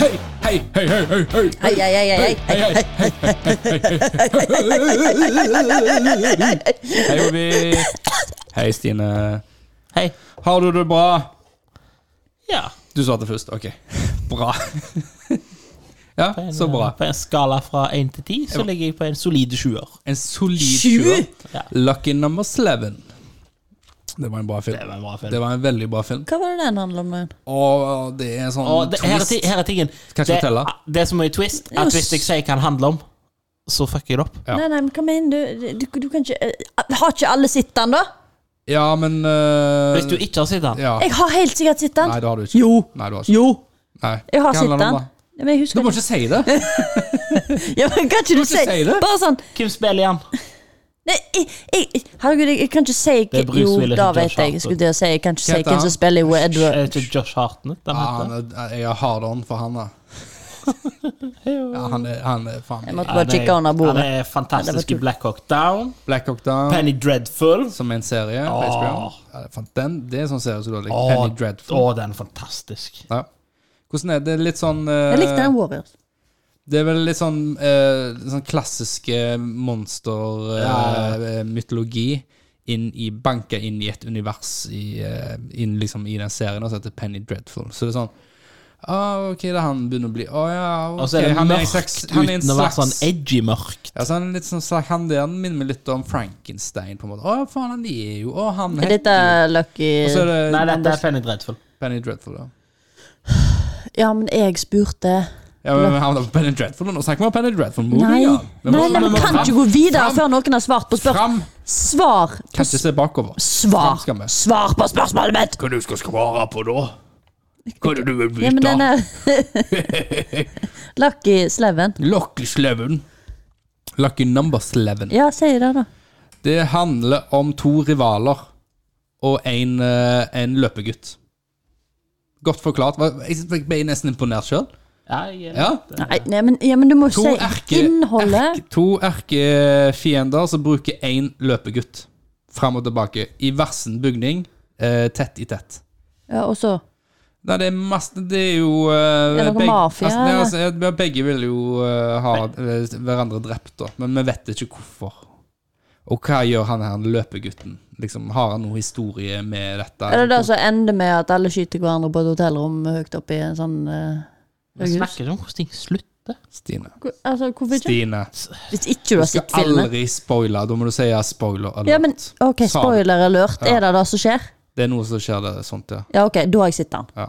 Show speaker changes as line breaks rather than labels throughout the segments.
Hei, hei, hei, hei, hei.
Hei, hei, hei, hei, hei, hei, hei, hei,
Hei, Ovi. Hei, Stine. Hei. Har du det bra?
Ja.
Du svarte først. Ok. Bra. Ja,
På en,
så bra.
eh, På en skala fra 1 til 10 så ligger jeg på en solid sjuer.
En solid
Sju?
sjuer.
Ja.
Lucky number seven. Det var en bra film.
Det var en bra film.
Det var en veldig bra film.
Hva var det den handla om? igjen?
Og det er en sånn
Og det, her, er,
twist.
ti- her er tingen.
Kan ikke
det, ah,
fortelle.
det som er i twist,
Ja,
at hvis jeg sier hva den handler om, så fucker jeg det opp.
Ja.
Nei, nei, men hva mener du? Du, du kan ikke eh, Har ikke alle sett den, da?
Ja, men eh,
Hvis du ikke har sett den.
ja.
Jeg har helt sikkert sett den.
Nei, det har du ikke.
Jo.
Nei, du har ikke.
Jo,
Nei.
jeg
Hva
har sett
handler det om,
den.
da?
Ja, men jeg
Du
husker
må ikke si det.
Ja, men kan ikke du
ikke
si
si det.
Bare sånn
Hvem spiller i den?
Nei, jeg, jeg, herregud, jeg, jeg kan ikke si
Det er Bruce
Jo,
Willis
da
og
vet
Josh
jeg.
Hartnett.
Skulle til å si, jeg kan ikke
Hva
si
heter
hvem
han?
som spiller jo Edward.
Er det ikke Josh Hartnett den
Ja,
heter?
Ah, han er, jeg har hard on for han, da. Ja, han er, han er faen
Jeg
meg
måtte bare kikke under bordet.
Han er
Ja, det
fantastisk
var
i Black Hawk Down.
Black Hawk Down,
Penny Dreadful.
som er en serie på
Åh.
HBO. Ja, det er fan- den, det er en sånn serie som du har likt.
Åh,
Penny Dreadful.
åh, den er fantastisk.
Ja. Hvordan er det? Litt sånn eh,
Jeg likte den Warriors.
Det er vel litt sånn, eh, litt sånn klassiske monstermytologi inn i banka inn i et univers i, eh, inn liksom i den serien og så heter Penny Dreadful. Så det er sånn Å, ok, det er han begynner å bli Å ja, ok.
Og så er det
han er en
mørkt
slags, han er en
uten å være
slags-
sånn edgy mørkt.
ja, så han er litt sånn slags Han der minner meg litt om Frankenstein, på en måte. Å, faen, han er jo Å, han
Er dette Lucky
Og så er det
Nei, dette er Penny Dreadful.
Penny Dreadful, da.
Ja, men jeg spurte
Ja, men vi havner på Penny Dreadful, og nå snakker vi om Penny
Nei,
Dreadful-movien.
nei, nei, vi kan ikke gå videre før noen har svart på spørsmål.
Fram!
Svar!
Kan ikke se bakover. Fram
Svar!
skal vi.
Svar på spørsmålet mitt!
Hva du skal svare på da? Hva er det du vil
Ja, men den er Lucky Sleven.
Lucky Sleven. Lucky number Sleven.
Ja, si det, da.
Det handler om to rivaler og en, eh, en løpegutt. Godt forklart. Hva- Jeg ble nesten imponert sjøl.
Ja, jeg,
Ja.
Nei, nei men, ja, men du må
To
si
erke-
innholdet.
erke- To erkefiender som bruker én løpegutt fram og tilbake i versen bygning, eh, tett i tett.
Ja, og så
Nei, det er masse Det er jo eh,
Er det noe
begge,
mafia,
altså, nei,
eller?
altså, ja, begge vil jo eh, ha eh, hverandre drept, da. Men vi vet ikke hvorfor. Og hva gjør han her løpegutten? Liksom, har han noe historie med dette?
Er det det som ender med at alle skyter hverandre på et hotellrom høyt oppe i en sånn eh,
Vi snakker ikke om hvordan ting slutter.
Stine.
hvor- Altså, hvorfor ikke?
Stine.
Hvis ikke du har
Skal
sett filmen.
aldri spoile. Da må du si ja, spoiler alert.
Ja, men OK,
Sa-
spoiler alert. Er det det som skjer?
Det er noe som skjer der, sånt, ja.
Ja, OK, da har jeg sett den.
ja.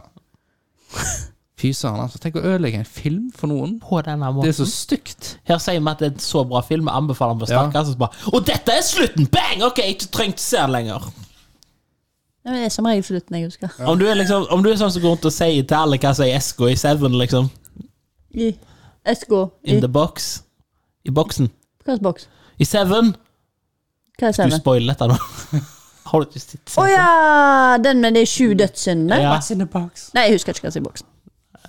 Fy søren, altså. Tenk å ødelegge en film for noen.
På denne
Det
måten.
er så stygt.
Her sier vi at det er en så bra film, vi anbefaler den på stakkars. og så bare, Og dette er slutten! Bang! Ok, jeg trenger ikke se den lenger.
Ja, men Det er som regel slutten jeg husker.
Om du er liksom Om du er sånn som går rundt og sier til alle hva som er i eska i Seven, liksom.
I Esko. I
In the box. I boksen.
hvilken boks?
I Seven.
Hva er
Du
serien?
spoiler dette nå. Har du ikke sett
Å
Seven?
ja! Den med de sju dødssyndene?
Ja.
What's in the box?
Nei, jeg husker ikke hva som er i boksen.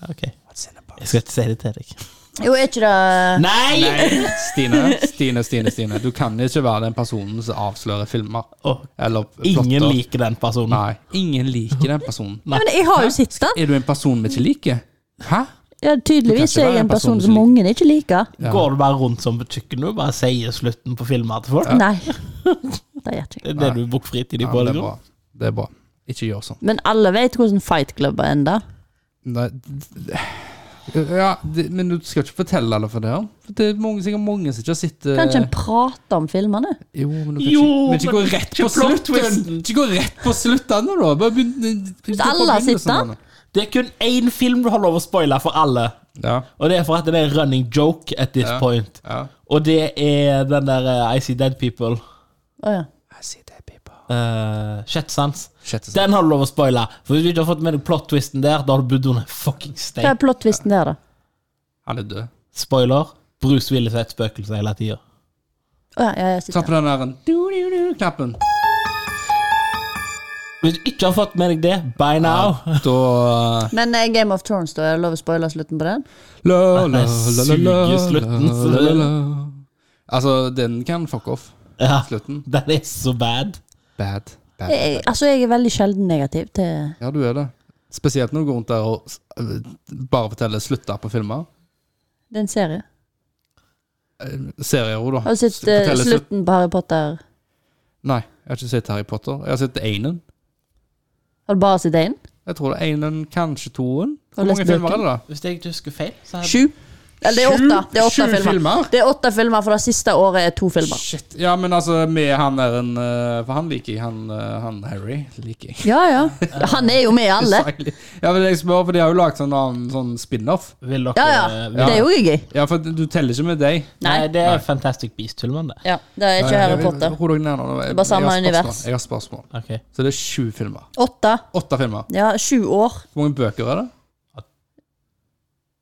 Ok.
What's in the box?
Jeg skal ikke si det til deg.
Jo, er ikke det
Nei!
Nei, Stine, Stine, Stine, Stine. Du kan ikke være den personen som avslører filmer.
Åh,
Eller
ingen
plotter.
liker den personen.
Nei, ingen liker den personen.
Nei, men jeg har jo sett den.
Er du en person vi ikke liker? Hæ?
Ja, tydeligvis
Du kan ikke
er jeg
være
en
en person
person
som
som mange ikke liker.
Går du bare rundt som på kjøkkenet og bare sier slutten på filmer til folk?
Nei. Det gjør jeg ikke.
Det er det du bruker fritid i
Ja,
på?
men det er
liksom.
bra. Det er bra. Ikke gjør sånn.
Men alle vet hvordan Fight Club ender.
Nei. Ja, det, men du skal ikke fortelle alle for det? her. For det er mange, sikkert mange som ikke har sett eh,
Kan ikke en prate om filmene?
Jo, men du kan
Jo,
ikke, men ikke
men
gå rett
ikke
på
plot
slutten!
twisten.
Ikke gå rett på slutten nå, da! Bare begynn begynn på
alle har sett
begynnelsen,
den?
Anne.
Det er kun én film du har lov å spoile for alle.
Ja.
Og det er for at det er en running joke at this
Ja.
point.
ja.
Og det er den der eh, I See Dead People.
Å ja.
I see that, people.
Uh, Sjette sans.
Sjette sesong.
Den har du lov å spoile. For hvis du ikke har fått med deg plot-twisten der, da har du bodd under en fucking
Hva er
stein.
plottvisten der, da?
Han er død.
Spoiler. Bruce Willis er et spøkelse hele tida.
Å ja, ja, jeg
Ta
sitter.
på den der du-du-du-knappen.
Hvis du ikke har fått med deg det, by now
Da
Men eh, Game of Thrones, da? Er det lov å spoile slutten på den?
La, la,
Nei,
la, la, la,
suger slutten,
la,
så
la,
det-
la. Altså, den kan fuck off.
ja.
Slutten.
Den er så bad.
Bad. bad.
Eh. Jeg, altså, jeg er veldig sjelden negativ til
Ja, du er det. Spesielt når du går rundt der og eh, bare forteller slutter på filmer.
Det er en serie.
Serier òg, da.
Har du sett
S-
eh,
forteller slutt-
slutten på Harry Potter?
Nei, jeg har ikke sett Harry Potter. Jeg har sett Einen.
Har du bare sett én?
Jeg tror det er Einen, kanskje toen.
Har
Hvor
du lest
mange filmer er det, da?
Hvis jeg ikke husker feil, så er
Sju? Eller det er åtte. Det er åtte
Sju- sju
filmer.
filmer?
Det er åtte filmer, for det siste året er to filmer.
Shit. Ja, men altså, med han der en eh, For han liker jeg. Han, eh, han Harry liker jeg.
Ja, ja. Han er jo med i alle.
Ja, men jeg spør, for de har jo lagd sånn, annen- sånn spin-off.
Vil dere
Ja, ja.
vil-
Det er jo gøy.
eh, Ja, for du teller ikke med deg.
Nei,
Nei.
det er Fantastic Beast-filmen, det.
Ja, det er ikke Harry Potter.
Ro deg ned nå. Jeg-
er bare samme
jeg har spørsmål.
univers.
Jeg har spørsmål.
Ok
Så det er sju filmer.
Åtte.
Åtte filmer.
Ja, sju år.
Hvor mange bøker er det?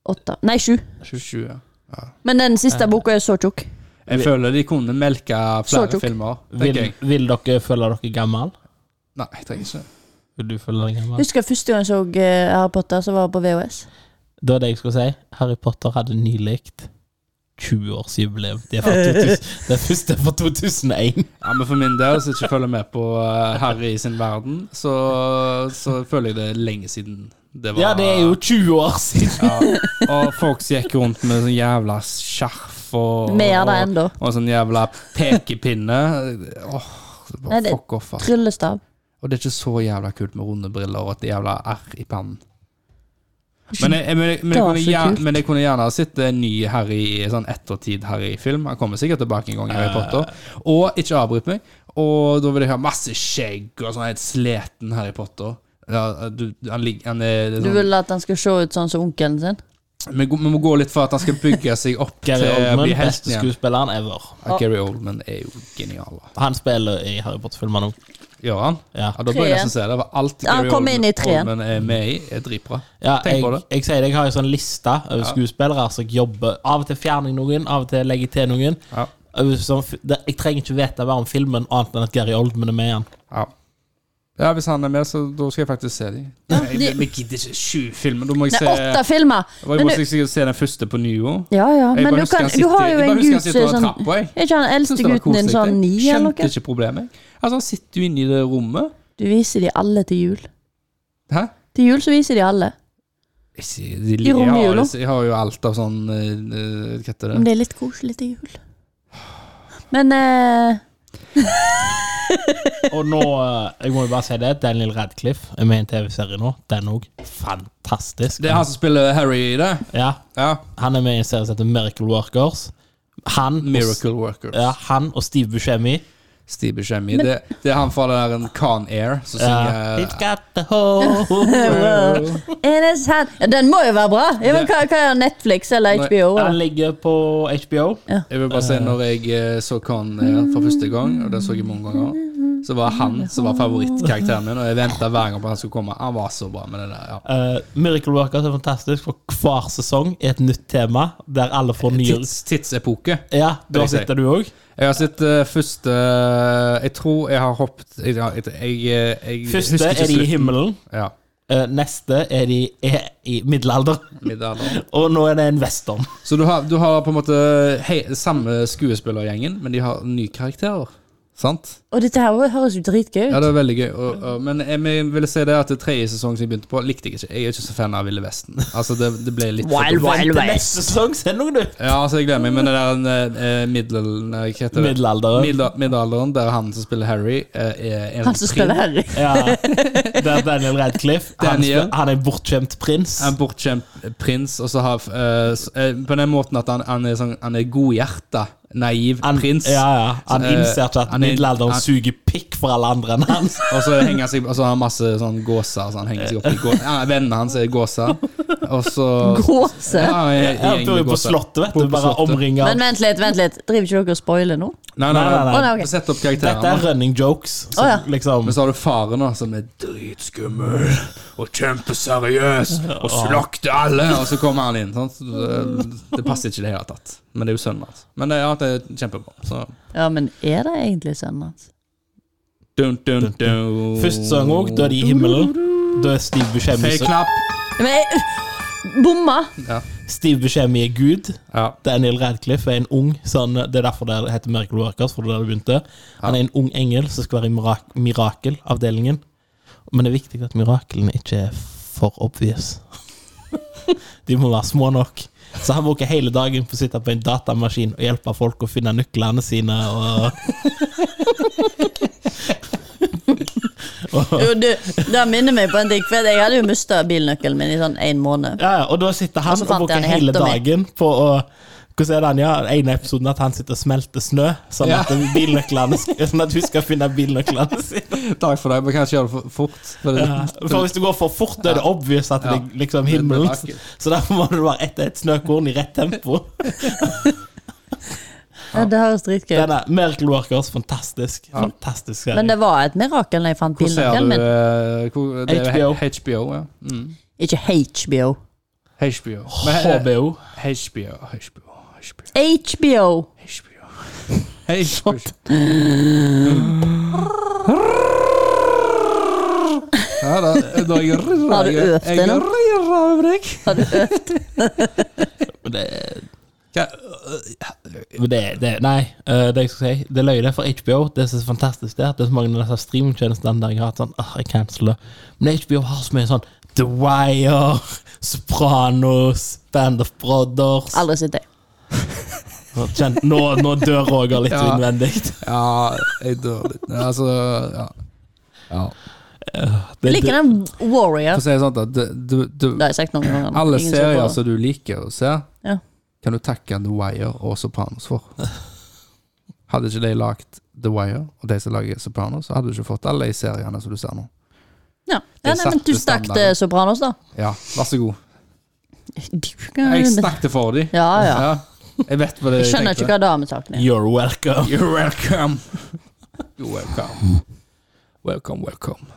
Åtte. Nei, sju.
27. ja.
Men den siste boka er så tjukk.
Jeg føler de kunne melke flere
tjukk.
filmer.
vil,
Tenker jeg.
vil dere føle dere gammel?
Nei, jeg trenger ikke.
Vil du føle deg gammel?
Husker jeg første gang jeg så eh, Harry Potter, så var jeg på VHS.
Det var det jeg skulle si. Harry Potter hadde nylig 20-årsjubileum. Det er fra 2000 det første er fra 2001.
Ja, men For min del, som ikke følger med på eh, Harry sin verden, så, så føler jeg det er lenge siden det var
Ja, det er jo 20 år siden!
Ja, og folk som gikk rundt med sånn jævla skjerf og
Mer da ennå.
Og, og sånn jævla pekepinne. Åh, det er
Nei,
bare
det-
fuck off, ass.
Tryllestav.
Og det er ikke så jævla kult med runde briller og et jævla R i pannen. Men jeg, jeg, men, jeg, men, jeg
Det var
kunne
så
gjerne,
kult.
men jeg kunne gjerne ha sett en ny Harry sånn ettertid-Harry-film. Han kommer sikkert tilbake en gang,
Eh.
Harry Potter. Og ikke avbryt meg. Og da vil jeg ha masse skjegg og sånn helt sliten Harry Potter. Ja, du, han, ligger- han er, det er
Du
sånn,
vil at han skal se ut sånn som onkelen sin?
vi, går- vi må gå litt for at han skal bygge seg opp til
Gary
å
Oldman,
bli eh, helten
beste
igjen.
skuespilleren ever.
Ja, Gary Oldman er jo genial. da.
Han spiller i Harry Potter-filmer nå.
Gjør han? Ja,
Ja.
da bør jeg
Treen.
nesten se det. For alt
Han
Gary
kom inn i treen.
Oldman er med i, er dritbra.
Ja,
Tenk
jeg,
på det.
jeg sier det, jeg har en sånn liste over
Ja.
skuespillere som jeg jobber Av og til fjerner jeg noen, av og til legger jeg til noen.
Ja.
Og sånn f- det- Jeg trenger ikke vite mer om filmen annet enn at Gary Oldman er med igjen.
Ja. ja, hvis han er med, så da skal jeg faktisk se dem.
de-
Vi gidder ikke sju filmer. Da må jeg
Nei,
se
åtte filmer!
Hva, jeg
Men
må
du-
sikkert se den første på Nio.
Ja ja,
Jeg
men
bare
du
husker
kan
han
Du har
sitter-
jo
jeg bare
en
husker han
gutt som
sitter
er
over
sånn
trappa, jeg.
Er ikke han
Synes
eldste
det var
gutten din
koselig,
sånn
jeg.
ni eller
Skjønte
noe?
ikke problemet. Altså, han sitter jo inne i det rommet.
Du viser de alle til jul.
Hæ?
Til jul så viser de alle.
Jeg sier- de- jeg har-
romjula.
Jeg har jo alt av sånn eh, eh, Hva heter
Men
det?
det er litt koselig til jul. Men eh,
Og nå, eh, jeg må jo bare si det, Daniel Radcliffe er med i en TV-serie nå. Den òg. Fantastisk.
Det er han som spiller Harry i det?
Ja,
Ja.
han er med i en serie som heter Miracle Workers. Han, og,
Miracle Workers.
ja, han og Steve Buscemi.
Steve Buscemi. Det, det er han fra den der en Con Air som
Ja.
synger
It's Eh, got the whole
eh,
it is hard. Ja, Den må jo være bra! Ja, men
Det-
hva, hva er Netflix eller
Nei,
HBO?
Han
Eller?
ligger på HBO.
Jeg vil bare si når jeg eh, så Con Air for første gang, og det så jeg mange ganger, så var han som var favorittkarakteren min, og jeg venta hver gang på at han skulle komme. Han var så bra med det der. ja
Eh, Miracle Workers er fantastisk, for hver sesong er et nytt tema der alle får nye
Tids, tidsepoke.
Ja, da
vil jeg si.
sitter du òg.
Jeg har sett eh, første eh, Jeg tror jeg har hoppet Jeg, jeg, jeg, jeg
Første
husker ikke
er de i
slutten.
himmelen.
Ja,
eh, neste er de er i middelalder.
middelalderen.
Og nå er det en western.
Så du har, du har på en måte hei, samme skuespillergjengen, men de har nye karakterer. Sant?
Og dette her høres jo dritgøy
Ja,
ut.
det var veldig gøy. Og, og, men jeg men ville si det at det tredje sesong som jeg begynte på, likte jeg ikke. Jeg er ikke så fan av Ville Vesten. Altså, det, det ble litt for dumt.
Vent til Neste sesong, se noe, du!
Ja, altså, jeg gleder meg, men det der eh, eh, middel... nei, Hva heter det?
Middelalderen.
Middel- Middelalderen, der han som spiller Harry, eh, er en
Han som
prin-
spiller Harry.
Ja, det er Daniel Radcliffe. Han,
Daniel.
spør- han er en bortskjemt prins.
En bortskjemt eh, prins, og så har eh, s- eh, På den måten at han, han er sånn Han er godhjerta, naiv
Han,
prins.
ja, ja. han
Så, eh,
innser ikke at
han er-
middelalderen
han-
suger pikk for alle andre enn han.
Og så henger han seg Og så har han masse sånn gåser, så han henger seg opp i gå- ja, Vennene hans er gåser, og så
Gåse.
Ja, han er- er
Han
gjeng
bor
med
jo på
gåser.
slottet, vet
Bor
du.
på
Bare
slottet.
omringa
Men vent litt, vent litt. Driver ikke dere og spoiler nå?
Nei, nei,
Nei, nei,
nei.
nei.
Å, nei, ok.
Sett opp
Dette er
karakterene.
running jokes. Som,
Å, ja.
liksom,
Men så har du faren, da, som er dritskummel og kjempeseriøs og slakter alle, og så kommer han inn. Sant? Så Det, det passer ikke i det hele tatt. Men det er jo sønnen hans. Men det, ja, det er kjempebra. Så
Ja, men er det egentlig sånn, altså? sønnen hans?
dun, dun, dun.
Første sesong òg, da er de i himmelen. Da er Steve Buscemi,
Feil knapp.
Men jeg Bomma!
Ja.
Steve Buscemi er gud.
ja.
Daniel Radcliffe er en ung sånn, Det er derfor det heter Miracle Workers. For det er der det begynte Han er en ung engel som skal være i mirak mirakelavdelingen. Men det er viktig at miraklene ikke er for obvious. De må være små nok. Så han bruker hele dagen på å sitte på en datamaskin og hjelpe folk å finne nøklene sine og
Jo, du, det minner meg på en ting. For jeg hadde jo mista bilnøkkelen min i sånn én måned.
Ja, ja, og da sitter
Og
han
så
og
fant
bruker
jeg han i
hele
hetta mi.
dagen på å Hvordan er det han gjør? Den ene episoden at han sitter og smelter snø, sånn
Ja.
at, bilnøklene, sånn at hun skal finne bilnøklene sine.
Takk for det, men kanskje gjør det for fort. For det,
Ja, Eh, For hvis du går for fort, da er det obvious at det er liksom himmelen.
Det blir vakkert.
Så derfor må du bare etter et snøkorn i rett tempo.
Ja, det høres dritgøy ut.
Denne Miracle Workers, fantastisk. Fantastisk
Men
serie.
det var et mirakel når jeg fant
Hvor ser
bilnøkkelen
du
min.
eh, hvor, det er
HBO.
HBO, ja. Mm.
Ikke HBO.
HBO. Men, eh,
HBO.
HBO, HBO, HBO.
HBO!
HBO. HBO. Ja da, da jeg rirrer
Har du
jeg-
øvd
Jeg
deg nå?
rirrer over deg.
Det,
Hva-
det, det, nei, eh, det jeg skal si, det løy det for HBO. Det som er så fantastisk der, det er så mange av disse streamingtjenestene der jeg har hatt sånn ah, jeg canceler. Men HBO har så mye sånn The Wire, Sopranos, Band of Brothers
Aldri sett det.
Kjent, nå, nå dør Roger litt
Ja.
innvendig.
Ja, jeg dør litt. Ja, Altså, ja. ja.
Eh, Det,
Jeg liker den
For
Warrior.
å si det sånn, da. Du, du, du,
Det har jeg sagt noen ganger.
alle
Ingen ser på
serier altså.
det.
som du liker å se,
Ja.
kan du takke The Wire og Sopranos for. Hadde ikke de lagd The Wire og de som lager Sopranos, så hadde du ikke fått alle de seriene som du ser nå.
Ja, ja nei, men
satte
du stakk
standarden.
til Sopranos, da.
Ja, vær så god.
Du-
Jeg snakket for dem.
Ja, ja.
Jeg vet hva det
Jeg skjønner ikke hva damesaken er.
You're welcome.
You're welcome. You're welcome. Welcome, welcome.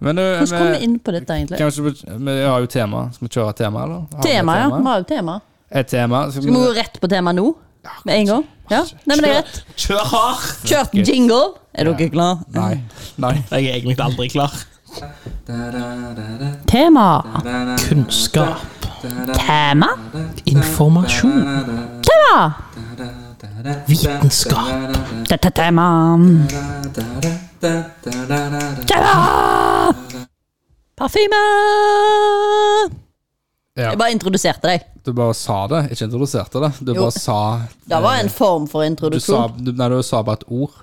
Men, eh,
Hvordan kom vi
vi-
inn på dette, egentlig?
Kanskje vi vi har jo tema. Skal vi kjøre tema, eller? Har vi et
Tema, ja. Vi har jo tema.
Et tema.
Skal vi gå rett på tema nå? Med en gang? Ja? Nei, men det er rett.
Kjør hardt!
Kjørt jingle! Er dere klare?
Nei. Nei.
Jeg er egentlig aldri klar.
Tema!
Kunnskap.
Tema?
Informasjon.
Tema!
Vitenskap.
Dette er tema. Tema! Parfyme!
Ja.
Jeg bare introduserte deg.
Du bare sa det, ikke introduserte det. Du
Jo.
bare sa
Det var en form for
du sa,
introduksjon.
du, Nei, du sa bare et ord.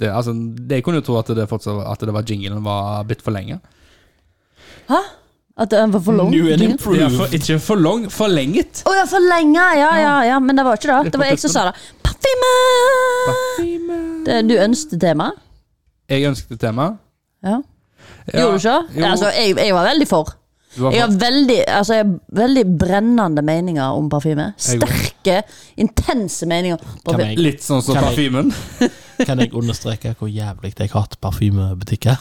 Det, altså, jeg kunne jo tro at det, fortsatt, at det var jinglen var bitt for lenge.
Hæ? At den var for lang?
New and
Ja,
Å
improved.
for, ikke for lang, forlenget.
ja, for lenge! Ja, ja, ja, men det var ikke det. Det var jeg som sa det. Parfyme! Det, du ønsket tema?
Jeg ønsket et tema.
Ja.
Ja,
Gjorde du ikke?
jo.
Altså, jeg, jeg var veldig for.
Du var
Jeg har veldig, altså, jeg har veldig brennende meninger om parfyme.
Jeg går.
Sterke, intense meninger. om
Kan
Parfyme.
jeg,
Litt sånn som
Kan jeg-
parfymen.
kan jeg understreke hvor jævlig jeg hater parfymebutikker?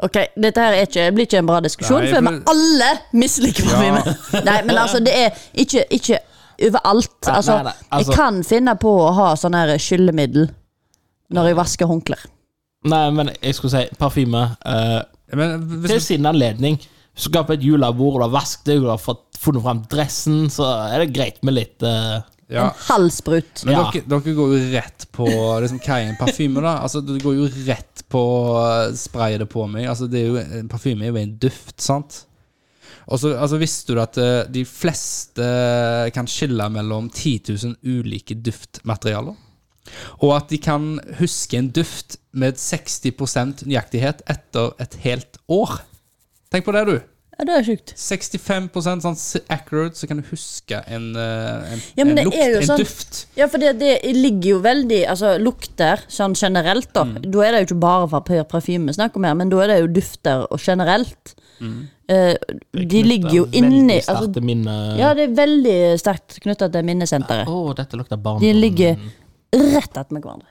Ok, Dette her er ikke, det blir ikke en bra diskusjon,
Nei,
for
for-
vi alle misliker parfyme. Nei, men altså, det er ikke, ikke overalt.
Nei,
Altså,
nei, nei,
jeg
altså-
kan finne på å ha sånn her skyllemiddel når jeg vasker håndklær.
Nei, men jeg skulle si parfyme. eh,
Men
det er
hvis,
jo sin anledning. Hvis du skal på et julebord, og du har vasket deg, og du har fått funnet fram dressen, så er det greit med litt eh,
ja.
Halsbrut.
Men
Ja.
dere, dere går jo rett på liksom, hva er en parfyme, da? Altså, du går jo rett på eh, spraye det på meg. Altså, det er jo, en parfyme er jo en duft, sant? Og så altså, visste du at eh, de fleste eh, kan skille mellom 10 000 ulike duftmaterialer? Og at de kan huske en duft med 60 nøyaktighet etter et helt år. Tenk på det, du.
Ja, det er sjukt.
65 sånn s- accurate, så kan du huske en, eh, en,
Ja, men
en
det
lukt,
er jo
en
sånn-
duft.
Ja, for det, det ligger jo veldig Altså, lukter sånn generelt, da.
Mm.
Da er det jo ikke bare papir, parfyme vi snakker om her, men da er det jo dufter og generelt.
Mm.
Eh, de ligger jo inni
eh, Veldig
altså,
sterke minner.
Ja, det er veldig sterkt knytta til minnesenteret.
Å, dette lukter barn.
De ligger
Mm.
rett attmed hverandre.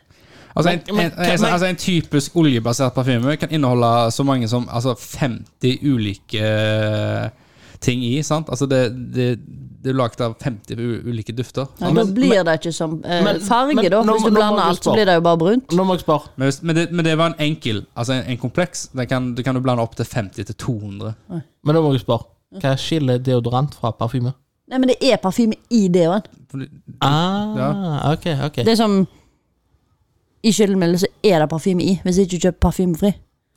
Altså en,
men-
en, altså, altså en typisk oljebasert parfyme kan inneholde så mange som altså 50 ulike eh, ting i. sant? Altså det, det, det er laget av 50 u- ulike dufter.
Ja,
sant?
da blir det ikke som eh,
men-
farge,
men
da.
nå
Hvis
må-
du
nå må
blander
du
alt, så
spørre.
blir det jo bare brunt.
Nå må jeg spørre.
Men, hvis, men, det, men det var en enkel, altså en, en kompleks. Den kan, du kan jo blande opp til 50 til 200.
Men nå må jeg spørre. Hva skiller deodorant fra parfyme?
Nei, men det er parfyme i det òg.
Ah,
Ja.
ok, ok.
Det er som I skyldmiddelet så er det parfyme i, hvis ikke du kjøper parfymefri.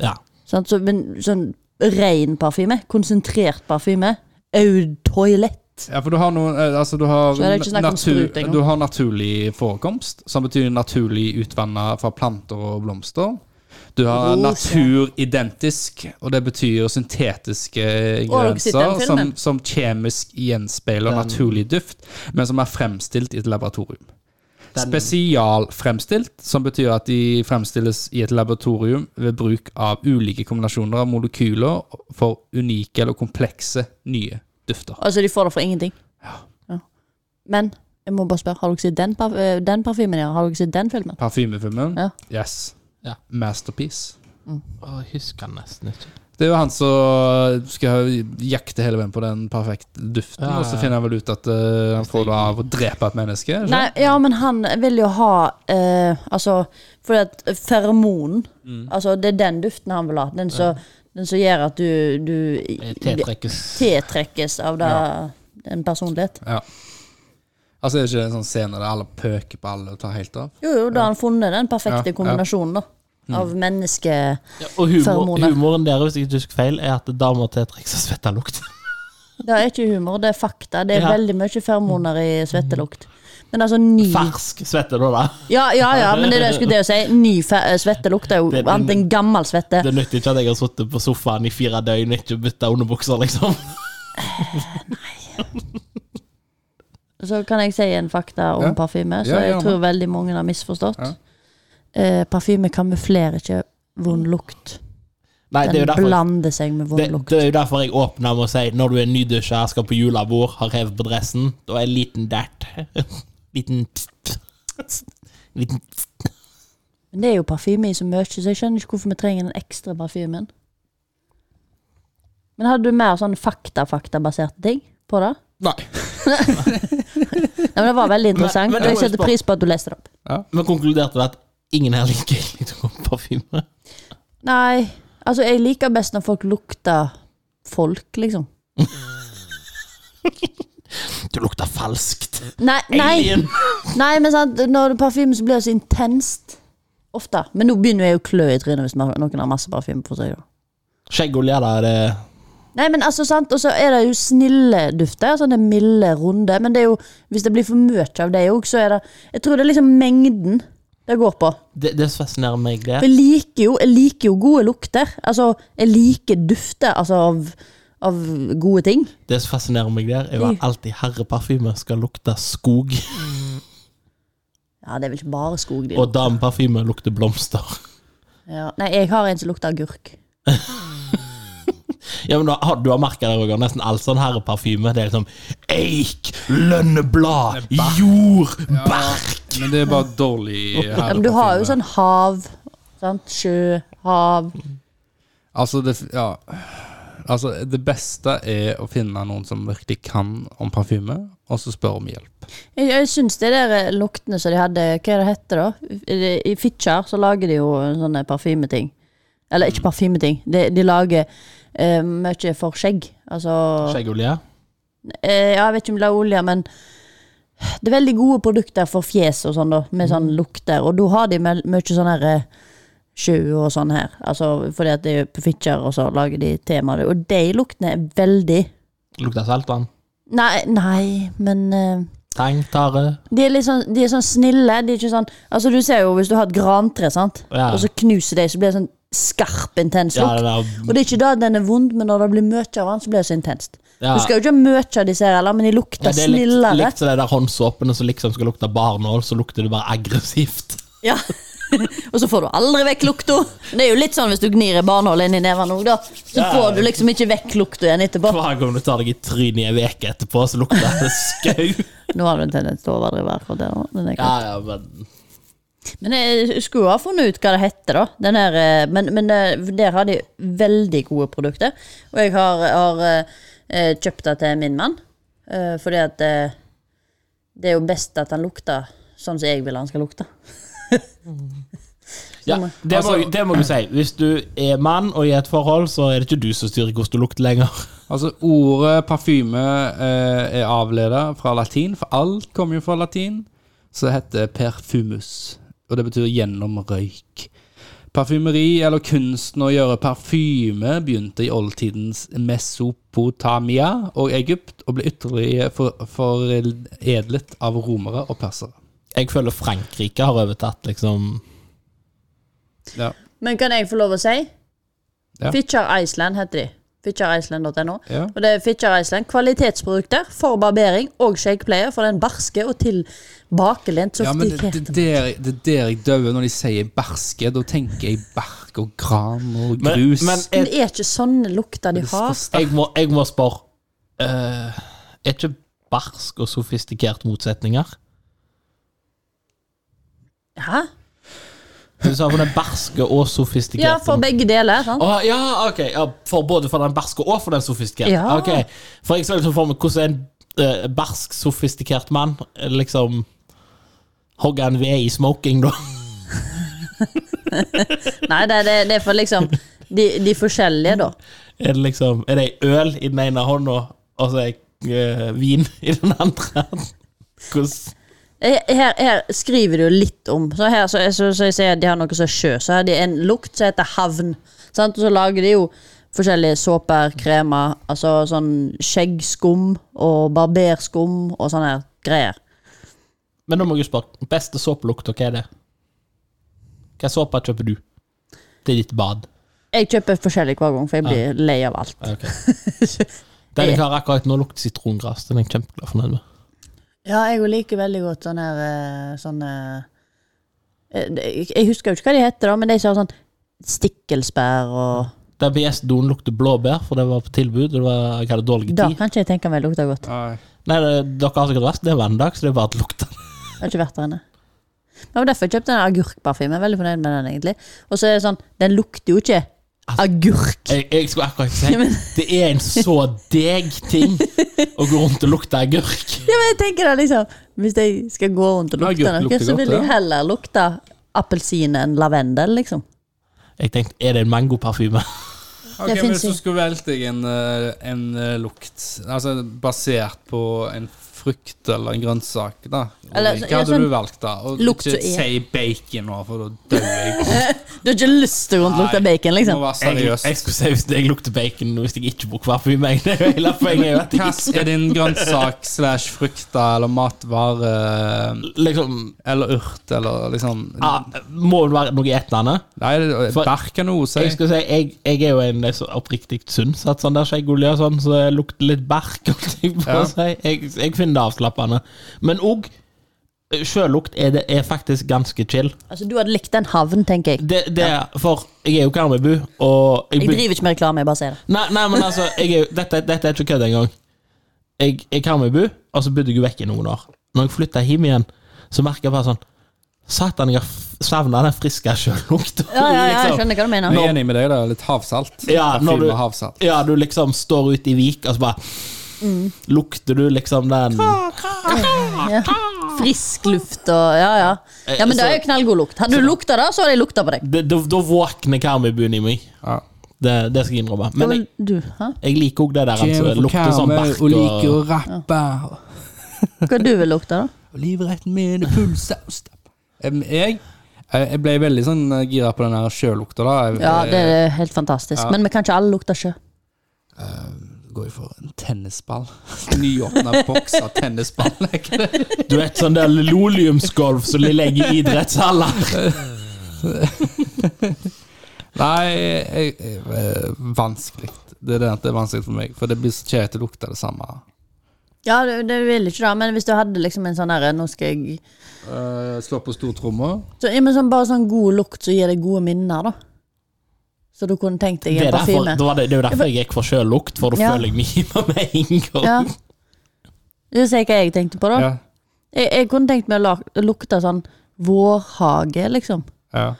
Ja.
Sant? Så, men sånn ren parfyme. Konsentrert parfyme. Eau toilette.
Ja, for du har noen eh, Altså, du har,
Så er det ikke snakk om sprut engang.
du har naturlig forekomst, som betyr naturlig utvanna fra planter og blomster. Du har
Rosa.
naturidentisk, og det betyr syntetiske
dere sitter i den
ingredienser som,
filmen.
som kjemisk gjenspeiler naturlig duft, men som er fremstilt i et laboratorium. Spesialfremstilt, som betyr at de fremstilles i et laboratorium ved bruk av ulike kombinasjoner av molekyler for unike eller komplekse nye dufter.
Altså, de får det for ingenting. Ja. Men jeg må bare spørre, har dere sett den, parf eh, den parfymen? Ja? Har dere sett den filmen?
Parfymefilmen?
Ja.
Yes.
Ja.
Masterpiece.
Å, jeg husker den nesten ikke.
Det er jo han som skal jakte hele veien på den perfekte duften,
Ja, ja,
og så
ja.
finner han vel ut at eh, han får det av å drepe et menneske. ikke
Nei,
sant?
ja, men han vil jo ha eh, Altså, fordi at feromonen
Mm.
Altså, det er den duften han vil ha. Den som den som gjør at du,
Jeg
du
Tiltrekkes
tiltrekkes av det, en personlighet.
Ja. Altså, er det ikke en sånn scene der alle pøker på alle og tar helt av?
Jo, jo, da har han funnet den
Ja,
perfekte
Mm. ja.
kombinasjonen, da. Av menneske...
ja, Og humor,
Feromoner.
humoren der, hvis jeg ikke husker feil, er at damer tiltrekkes av svettelukt.
Det er ikke humor, det er fakta. Det er
Ja. Mm.
veldig mye feromoner i svettelukt. Men altså, ni
Fersk svette, da. da.
Ja, ja, ja, men det er det jeg skulle til å si. Ny fe eh, svette lukter jo
Det- det-
annet enn gammel svette.
Det nytter ikke at jeg har sittet på sofaen i fire døgn og ikke bytta underbukser, liksom.
Så kan jeg si en fakta om
Ja.
parfyme,
Ja,
så jeg
gjerne.
tror veldig mange har misforstått.
Ja.
Eh, parfyme kamuflerer ikke vond lukt.
Nei, det
Den
er jo derfor
blander seg med
det,
vond lukt.
det er jo derfor jeg åpner med å si når du er nydusja, skal på julebord, har revet på dressen, da er en liten dert. Liten Liten
Men det er jo parfyme i så mye, så jeg skjønner ikke hvorfor vi trenger den ekstra parfymen. Men hadde du mer sånn fakta-faktabaserte ting på det?
Nei.
Nei, men Det var veldig interessant,
men
og
det
jeg
må jeg
setter
spørre-
pris på at du leste det opp.
Vi konkluderte med at ingen her liker egentlig parfyme.
Nei, altså jeg liker best når folk lukter folk, liksom.
Du lukter falskt.
Nei, nei,
Alien.
nei men sant, når parfyme så blir det så intenst. Ofte. Men nå begynner jeg å klø i trynet hvis man- noen har masse parfyme på seg. da.
Skjeggolje, da. er Det
Nei, men altså, sant, og så er det jo snille dufter, sånne milde, runde, men det er jo, hvis det blir for mye av det òg, så er det Jeg tror det er liksom mengden det går på.
det, det som fascinerer meg, det
For jeg liker jo, jeg liker jo gode lukter. Altså, jeg liker dufter altså, av, av gode ting.
Det som fascinerer meg der, er jo at alltid herreparfyme skal lukte skog,
Ja, det er vel ikke bare skog, de
og dameparfyme lukter blomster.
Ja. Nei, jeg har en som lukter agurk.
Ja, men Du har, du har merket det, Roger. Nesten all sånn herreparfyme. Det er liksom eik, lønneblad, jord, bark.
Men det er bare dårlig
Ja, men du har jo sånn hav, sant? sjø, hav. sånn-
Altså, det, ja. altså, det beste er å finne noen som virkelig kan om parfyme, og så spørre om hjelp.
Jeg, jeg syns de der eh, luktene som de hadde, hva er det heter da? I- i- I Fitjar så lager de jo eh, sånne parfymeting. Eller ikke parfymeting, de, de lager eh, mye for skjegg. Altså
Skjeggolje.
eh, Ja, jeg vet ikke om de lager olje, men det er veldig gode produkter for fjes og sånn, da, med sånn lukter. Og da har de mel- mye sånn her eh, sjø og sånn her. Altså fordi at det er på Fitjar, og så lager de temaer. Og de luktene er veldig
Lukter saltvann.
Nei, nei, men eh,
Tang, tare.
de, er litt sånn, de er sånn snille. De er ikke sånn Altså, du ser jo hvis du har et grantre, sant,
Ja.
og så knuser de, så blir det sånn skarp, intens
Ja,
lukt.
det
og
der.
det er ikke da den er vond, men når det blir mye av den, så blir det så intenst.
Ja.
Du skal jo ikke ha mye av disse her, heller, men de lukter
Ja, det er likt,
snillere.
likt som de der håndsåpene som liksom skal lukte barnål, så lukter det bare aggressivt.
Ja. og så får du aldri vekk lukta. Det er jo litt sånn hvis du gnir i barnehullet inn i neven òg, da. Så
Ja.
får du liksom ikke vekk lukta igjen etterpå.
Hver gang du tar deg i trynet i ei uke etterpå, så lukter det skau.
Nå har du en tendens til å overdrive akkurat det. også, Men det er greit.
Ja, ja, men
Men jeg skulle jo ha funnet ut hva det heter, da. Den her, eh, men men eh, der har de veldig gode produkter. Og jeg har, har eh, kjøpt det til min mann. eh, Fordi at eh, det er jo best at han lukter sånn som jeg vil han skal lukte.
ja, det,
Altså-
må, det må du si. Hvis du er mann og i et forhold, så er det ikke du som styrer hvordan du lukter lenger.
Altså, ordet parfyme eh, er avledet fra latin, for alt kommer jo fra latin. Så det heter perfumus, og det betyr gjennom røyk. Parfymeri, eller kunsten å gjøre parfyme, begynte i oldtidens Mesopotamia og Egypt, og ble ytterligere for- foredlet av romere og persere.
Jeg føler Frankrike har overtatt, liksom.
Ja.
Men kan jeg få lov å si?
Ja.
Fitjar Iceland heter de. Fitjarisland.no.
Ja.
Og det er Fitjar Iceland. Kvalitetsprodukter for barbering og shakepleier for den barske og tilbakelent
Ja, men det,
softikerte
det, der, det der jeg dauer når de sier berske. Da tenker jeg bark og gran og grus.
Men,
Men
men
det er ikke sånne lukter de
Det er for
har.
sterkt.
jeg, må, jeg må spørre eh, Er ikke barsk og sofistikert motsetninger?
Hæ?
Du sa for den barske og sofistikerte.
Ja, for begge deler. sant?
Å, ja, ok. Ja, for både for den barske og for den sofistikerte.
Ja.
Ok. For jeg så liksom for meg hvordan en eh, barsk, sofistikert mann eh, liksom hogger en ved i smoking, da.
Nei, det, det, det er for liksom de, de forskjellige, da.
Er det liksom Er det ei øl i den ene hånda og så ei eh, vin i den andre? Hvordan
Eh, Her, her skriver du jo litt om. Så her så, så, så jeg sier at de har noe som er sjø. Så har de en lukt som heter havn. Sant? Og så lager de jo forskjellige såper, kremer, altså sånn skjeggskum og barberskum og sånne her greier.
Men nå må jeg jo spørre, beste såpelukta, hva er det? Hva såpe kjøper du til ditt bad?
Jeg kjøper forskjellig hver gang, for jeg blir lei av alt.
Ah, Ok. Den jeg har akkurat nå, lukter sitrongress. Den er jeg kjempeglad fornøyd med.
Ja, jeg liker veldig godt sånne her eh, sånne eh, det- Jeg husker jo ikke hva de heter, da, men de som har sånn stikkelsbær og
DBS-doen lukter blåbær, for det var på tilbud. og Det var, jeg hadde dårlig
Da
tid.
kan ikke jeg tenke meg lukter godt.
Nei.
Nei, det, Dere har sikkert vært der hver dag, så det er bare at lukter
Jeg har ikke vært der inne. Men det var derfor jeg kjøpte den agurkparfymen. Jeg er Veldig fornøyd med den, egentlig. Og så er det sånn, den lukter jo ikke agurk.
jeg, jeg skulle akkurat si det er en så deg ting å gå rundt og lukte agurk.
Ja, men jeg tenker da liksom Hvis jeg skal gå rundt og
Men
lukte
agurk
noe,
lukter
så vil
godt,
jeg
ja.
heller lukte appelsin enn lavendel, liksom.
Jeg tenkte, er det en mangoparfyme?
Ok, men
finnes
Hvis du
ikke.
skulle valgt deg en, eh, en eh, lukt altså basert på en frukt eller en grønnsak, da Ulrik,
Eller,
Hva
ja,
hadde
sånn
du valgt, da? Og
lukt
ikke
som er-
si bacon nå, for da dør jeg.
Du har ikke lyst til å gå rundt og lukte
Nei,
bacon,
Må
liksom?
være
Jeg,
seriøs.
jeg skulle si hvis jeg lukter bacon hvis jeg ikke bruker parfyme. Det er jo hele poenget. er jo at jeg
Hva
ikke
er din grønnsak slash frukt da, eller matvare
liksom,
eller urt eller liksom
ah, Må det være noe etende?
Nei, det-
for-
bark er noe å si.
Jeg skal si, jeg, jeg er jo en eh, så oppriktig sunn satt sånn der skjeggolje og sånn, så det lukter litt bark. holdt Jeg, på å
Ja.
si. jeg, jeg finner det avslappende. Men òg sjølukt er, det- er faktisk ganske chill.
Altså, du hadde likt den havn, tenker jeg.
Det, det er, For jeg er jo Karmøybu, og
Jeg driver ikke med reklame, jeg bare sier det.
Nei, nei, men altså, jeg er, jo- dette, dette er ikke kødd engang. Jeg er Karmøybu, og så bodde jeg jo vekk i noen år. Når jeg flytta hjem igjen, så merka jeg bare sånn Satan, jeg har savna den friske sjølukta.
Ja, ja, ja, jeg
liksom.
skjønner hva du
Jeg
mener.
er enig med deg, da. Litt havsalt.
Ja, når
Parfyme
du-
og havsalt.
Ja, du liksom står ute i vik, og så bare
Mm.
Lukter du liksom den
Ja. Frisk luft og Ja, ja. Ja, Men det er jo knallgod lukt. Hadde du lukta det, Eh, altså- så hadde jeg lukta på deg.
Da- Da da våkner karmøybuen i meg.
Ja.
Det, det skal jeg innrømme. Men jeg,
Du, hæ?
jeg liker òg det der at det
Kjem fra
lukter sånn
Karmøy
bark
og liker
og
å rappe.
Hva du vil lukte, da?
Og livretten min er pulsaus. Jeg, jeg ble veldig sånn gira på den her sjølukta, da. Jeg,
Ja, det er helt fantastisk. Men vi kan ikke alle lukte sjø.
jeg går jo for en tennisball. Nyåpna boks av tennisball. er ikke det?
Du vet sånn der linoleumsgulv som de legger i idrettshaller.
Nei, jeg, jeg, eh, vanskelig. Det er det at det er vanskelig for meg, for det blir så kjedelig å lukte det samme.
Ja, du, du vil ikke det, men hvis du hadde liksom en sånn herre Nå skal jeg
Uh, Slå på stortromma.
så, ja, men sånn, Bare sånn god lukt som gir deg gode minner, da. Så du kunne tenkt deg
Det
en
er, derfor,
parfyme.
det, var det, det er jo derfor jeg gikk for sjølukt, for da
Ja.
føler jeg meg hjemme med en gang.
Ja. Du ser hva jeg tenkte på, da.
Ja,
Jeg, jeg kunne tenkt meg å la- lukte sånn vårhage, liksom.
ja.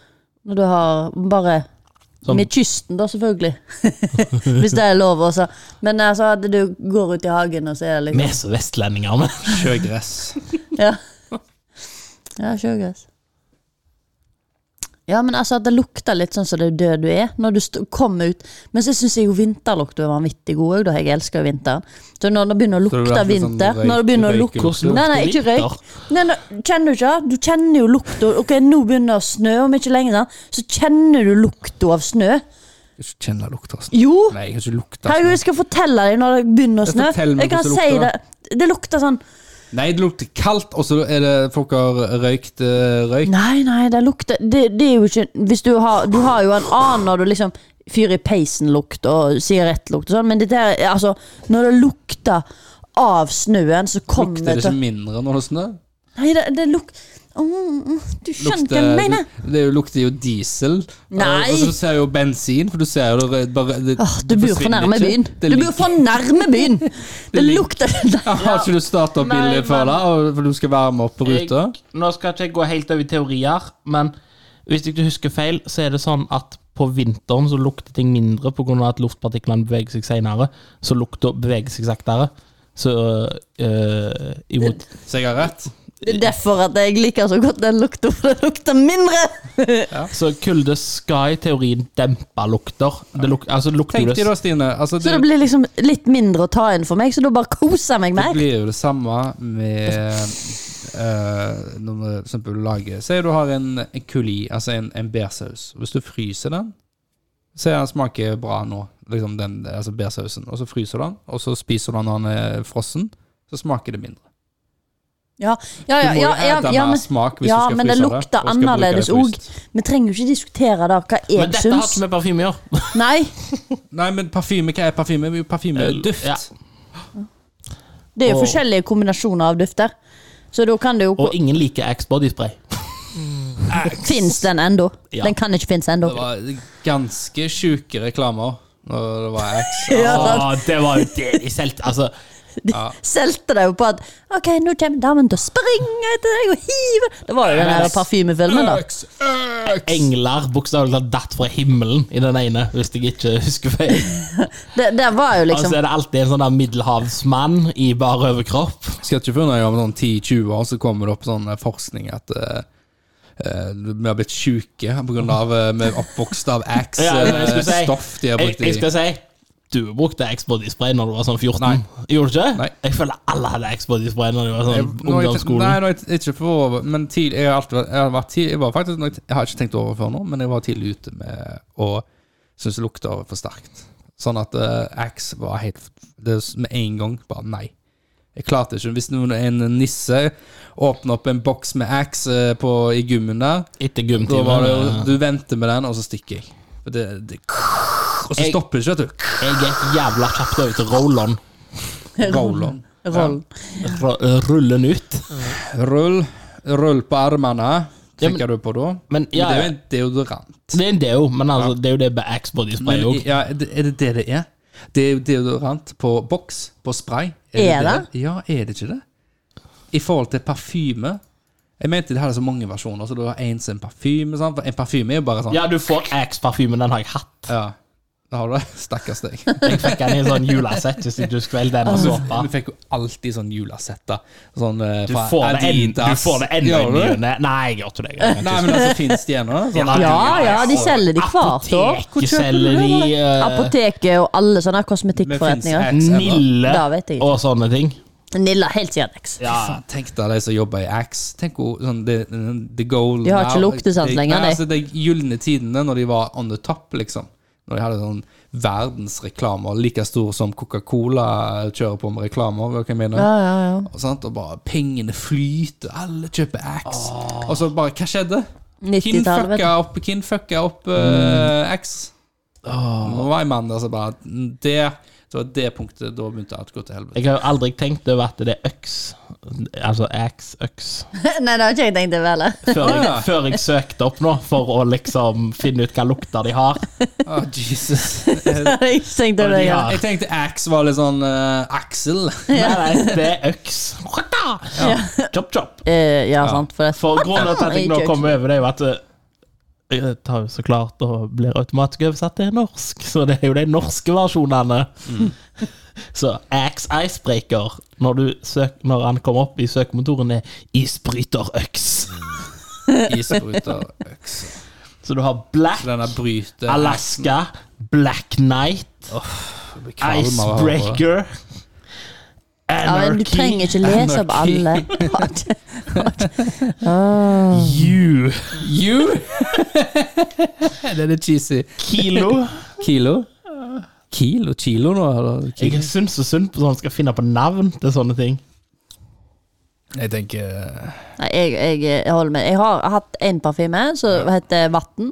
Når du har bare
Sånn-
Med kysten, da, selvfølgelig. Hvis det er lov, også. Men altså, at du går ut i hagen, og så er det
Vi
liksom
er så vestlendinger, men.
Sjøgress.
Ja, ja sjøgress. Ja, men altså, det lukter litt sånn som det er død du er, når du st kommer ut. Men så syns jeg jo vinterlukta er vanvittig god òg, da. Jeg elsker jo vinteren. Så når det begynner å
Så det
lukte
er litt sånn
vinter
røyk-
Når det begynner å lukte
røykelukte?
Nei, nei, ikke røyk. Nei, nei, kjenner du ikke? det? Du kjenner jo lukta. Ok, nå begynner det å snø om ikke lenge, sant? så kjenner du lukta av snø.
Jeg kan ikke kjenne lukta. av snø.
Jo!
Nei, jeg kan ikke lukte av
Herregud,
snø.
jeg skal fortelle deg når det begynner å
Jeg
snø.
fortell meg
Jeg kan
hvordan det
si det.
lukter,
Det lukter sånn
Nei, det lukter kaldt, og så er det folk har røykt eh, røyk.
Nei, nei, det lukter Det, det er jo ikke Hvis du har Du har jo en annen når du liksom fyrer i peisen-lukt og sigarettlukt og sånn, men dette her er Altså, når det lukter av snøen, så kommer
Lukter
det
det
til
ikke mindre når det snør?
Nei, det, det luk... Mm, du skjønner hva
Lukter,
jeg mener.
det, det lukter jo diesel.
Nei.
Og så ser jeg jo bensin, for du ser jo det bare det,
Åh, du
det
bor for
forsvinner
nærme
ikke.
byen.
Det
Du
ligger-
bor for nærme byen! Det
ligger-
lukter
Ja, Har ikke du starta opp
Nei,
bilen før
men-
da, og- for du skal varme opp på ruta?
Jeg, nå skal ikke jeg gå helt over i teorier, men hvis jeg ikke husker feil, så er det sånn at på vinteren så lukter ting mindre pga. at luftpartiklene beveger seg senere, så lukta beveger seg saktere. Så øh, imot
Så jeg har rett?
Det er derfor at jeg liker så godt den lukta, for det lukter mindre!
Så kulde skal i teorien dempe lukter. Det luk, altså lukter
Tenk
det
deg da, Stine. Altså,
Så
det,
det blir liksom litt mindre å ta inn for meg, så da bare koser jeg meg
det
mer.
blir jo det samme med eh, Når du for eksempel lager Si du har en, en kuli, altså en, en bærsaus. Hvis du fryser den, så er den smaker bra nå, liksom den, altså bærsausen. Og så fryser du den, og så spiser du den når den er frossen, så smaker det mindre.
Ja, ja,
Du
ja,
må jo
ja, ja,
ete
ja,
mer
men
smak hvis
ja,
du skal
men
fryse
det
det.
lukter
og skal bruke det
annerledes
fryst.
Vi trenger jo ikke diskutere da hva jeg
Men dette har
syns.
ikke med parfyme å gjøre.
Nei,
Nei, men parfyme, hva er parfyme? Jo, Parfyme er
Eh,
duft.
ja.
det er jo
Og-
forskjellige kombinasjoner av dufter. Så da kan det jo
Og ingen liker X-bodyspray.
Fins den ennå?
Ja.
Den kan ikke finnes ennå.
Det var ganske sjuke reklamer når det var X.
Ja, sant.
Åh, det var jo det de solgte. Altså,
De solgte deg jo på at OK, nå kommer damen til å springe etter deg og hive Det var jo den der parfymefilmen, da.
X, X.
engler bokstavelig talt datt fra himmelen i den ene, hvis jeg ikke husker feil.
Det, det var jo
Og så
liksom
er det alltid en sånn der middelhavsmann i bar overkropp.
Skal ikke forundre meg om sånn 10-20 år så kommer det opp sånn eh, forskning at eh, eh, vi har blitt sjuke pga. at eh, vi er oppvokst av X.
Ja, men jeg skulle si-
eh, stoff de har
Jeg,
brukt i
jeg skal si du brukte X-bodyspray når du var sånn 14. Gjorde du ikke?
Nei.
Jeg føler alle hadde X-bodyspray når de var sånn
Jeg- nå er jeg- Nei,
ungdomsskolen.
nå er jeg ikke for over, men tid, jeg, har alltid, vært- jeg, har vært tid, jeg var faktisk nok- Jeg har ikke tenkt over før nå, men jeg var tidlig ute med å synes det lukta for sterkt. Sånn at eh, Axe var helt det, s- Med en gang bare nei. Jeg klarte ikke Hvis noen, en nisse åpner opp en boks med Axe eh, på- i gymmen der,
Etter
da var det
gymtimen.
Du venter med den, og så stikker jeg. For Det, det, og så
Jeg-
stopper det ikke, vet du.
Eh, Jeg gikk jævla kjapt over til roll-on.
Roll-on.
rollen.
Ru- eh, Rullen ut.
Rull, rull på armene.
Ja, men-
Trykker du på da?
Men
Men
ja,
det er jo en deodorant.
det er en deo, men altså, det er jo det med X-bodyspray
Men,
òg.
ja, er det- er det det det er? Det er jo deodorant på boks, på spray.
Er
Ja, er det ikke det? I forhold til parfyme Jeg mente det hadde så mange versjoner, så du har en som en parfyme. sant? For En parfyme er jo bare sånn
Ja, du får X-parfymen, den har jeg hatt.
Ja, Da har du det. Stakkars deg.
Jeg fikk den i en sånn julesett hvis ikke du skvelger den og såpa.
Vi fikk jo alltid sånn julesetter. Sånn eh,
Du
fra
får det en- du
Adidas.
får det ennå i
Gjør du
ny
det?
og ne. Nei, jeg gjør ikke det. Jeg gjør
Nei, men altså, fins de ennå? Sånn,
Ja,
Ja, ja, de selger de hvert år.
Apoteket selger de, altså eh,
Apoteket og alle sånne
men finnes
kosmetikkforretninger.
Axe ennå?
Nille
Da vet jeg ikke.
og sånne ting.
Nilla, helt siden X.
Faen, Tenk deg de som jobber i Axe. Tenk hvor sånn, the, the golden
De har ikke luktesans lenger,
Nei,
de.
Altså, de gylne tidene når de var on the top, liksom. Når de hadde sånn verdensreklamer like stor som Coca-Cola kjører på med reklamer. Hva kan jeg mene?
Ja, ja, ja.
Og, sant? og bare pengene flyter, alle kjøper Axe. Og så bare Hva skjedde?
90-tallet, vet du. Mm.
Kinfucka opp, kinfucka opp eh, Axe. Nå var jeg mann der som bare Det det var det punktet. Da begynte alt å gå til helvete.
Jeg har jo aldri tenkt over at det er øks. Altså ax, øks.
Nei, det har ikke jeg tenkt over heller.
Før
Å,
jeg,
ja.
før jeg søkte opp nå, for å liksom finne ut hva lukter de har.
Å, Jesus.
Det har jeg ikke tenkt over det, ja.
Jeg tenkte Axe var litt sånn eh, Axel.
Nei, nei, det er øks. Chop, chop.
Eh, ja, sant. For det
For grunnen til at jeg nå kommer over det, er jo at eh, jeg tar jo så klart og blir automatisk oversatt til norsk. Så det er jo de norske versjonene.
Mm.
Så Axe Icebreaker, når, du søk, når han kommer opp i
Mm.
søkemotoren, er isbryterøks.
Isbryter, øks
Så du har Black,
Denne bryter
Alaska, Black Night,
Jeg blir kvalm av å høre på det.
Icebreaker,
Ja, men du trenger
Anarchy,
ikke lese opp
Anarchy.
alle.
You,
Mm. You! det er litt cheesy.
Kilo.
Kilo? Kilo? Kilo nå? Eller?
Jeg syns så synd på sånn skal finne på navn til sånne ting.
Jeg tenker
Nei, jeg, jeg, jeg holder med. Jeg har hatt en parfyme som heter Vatten,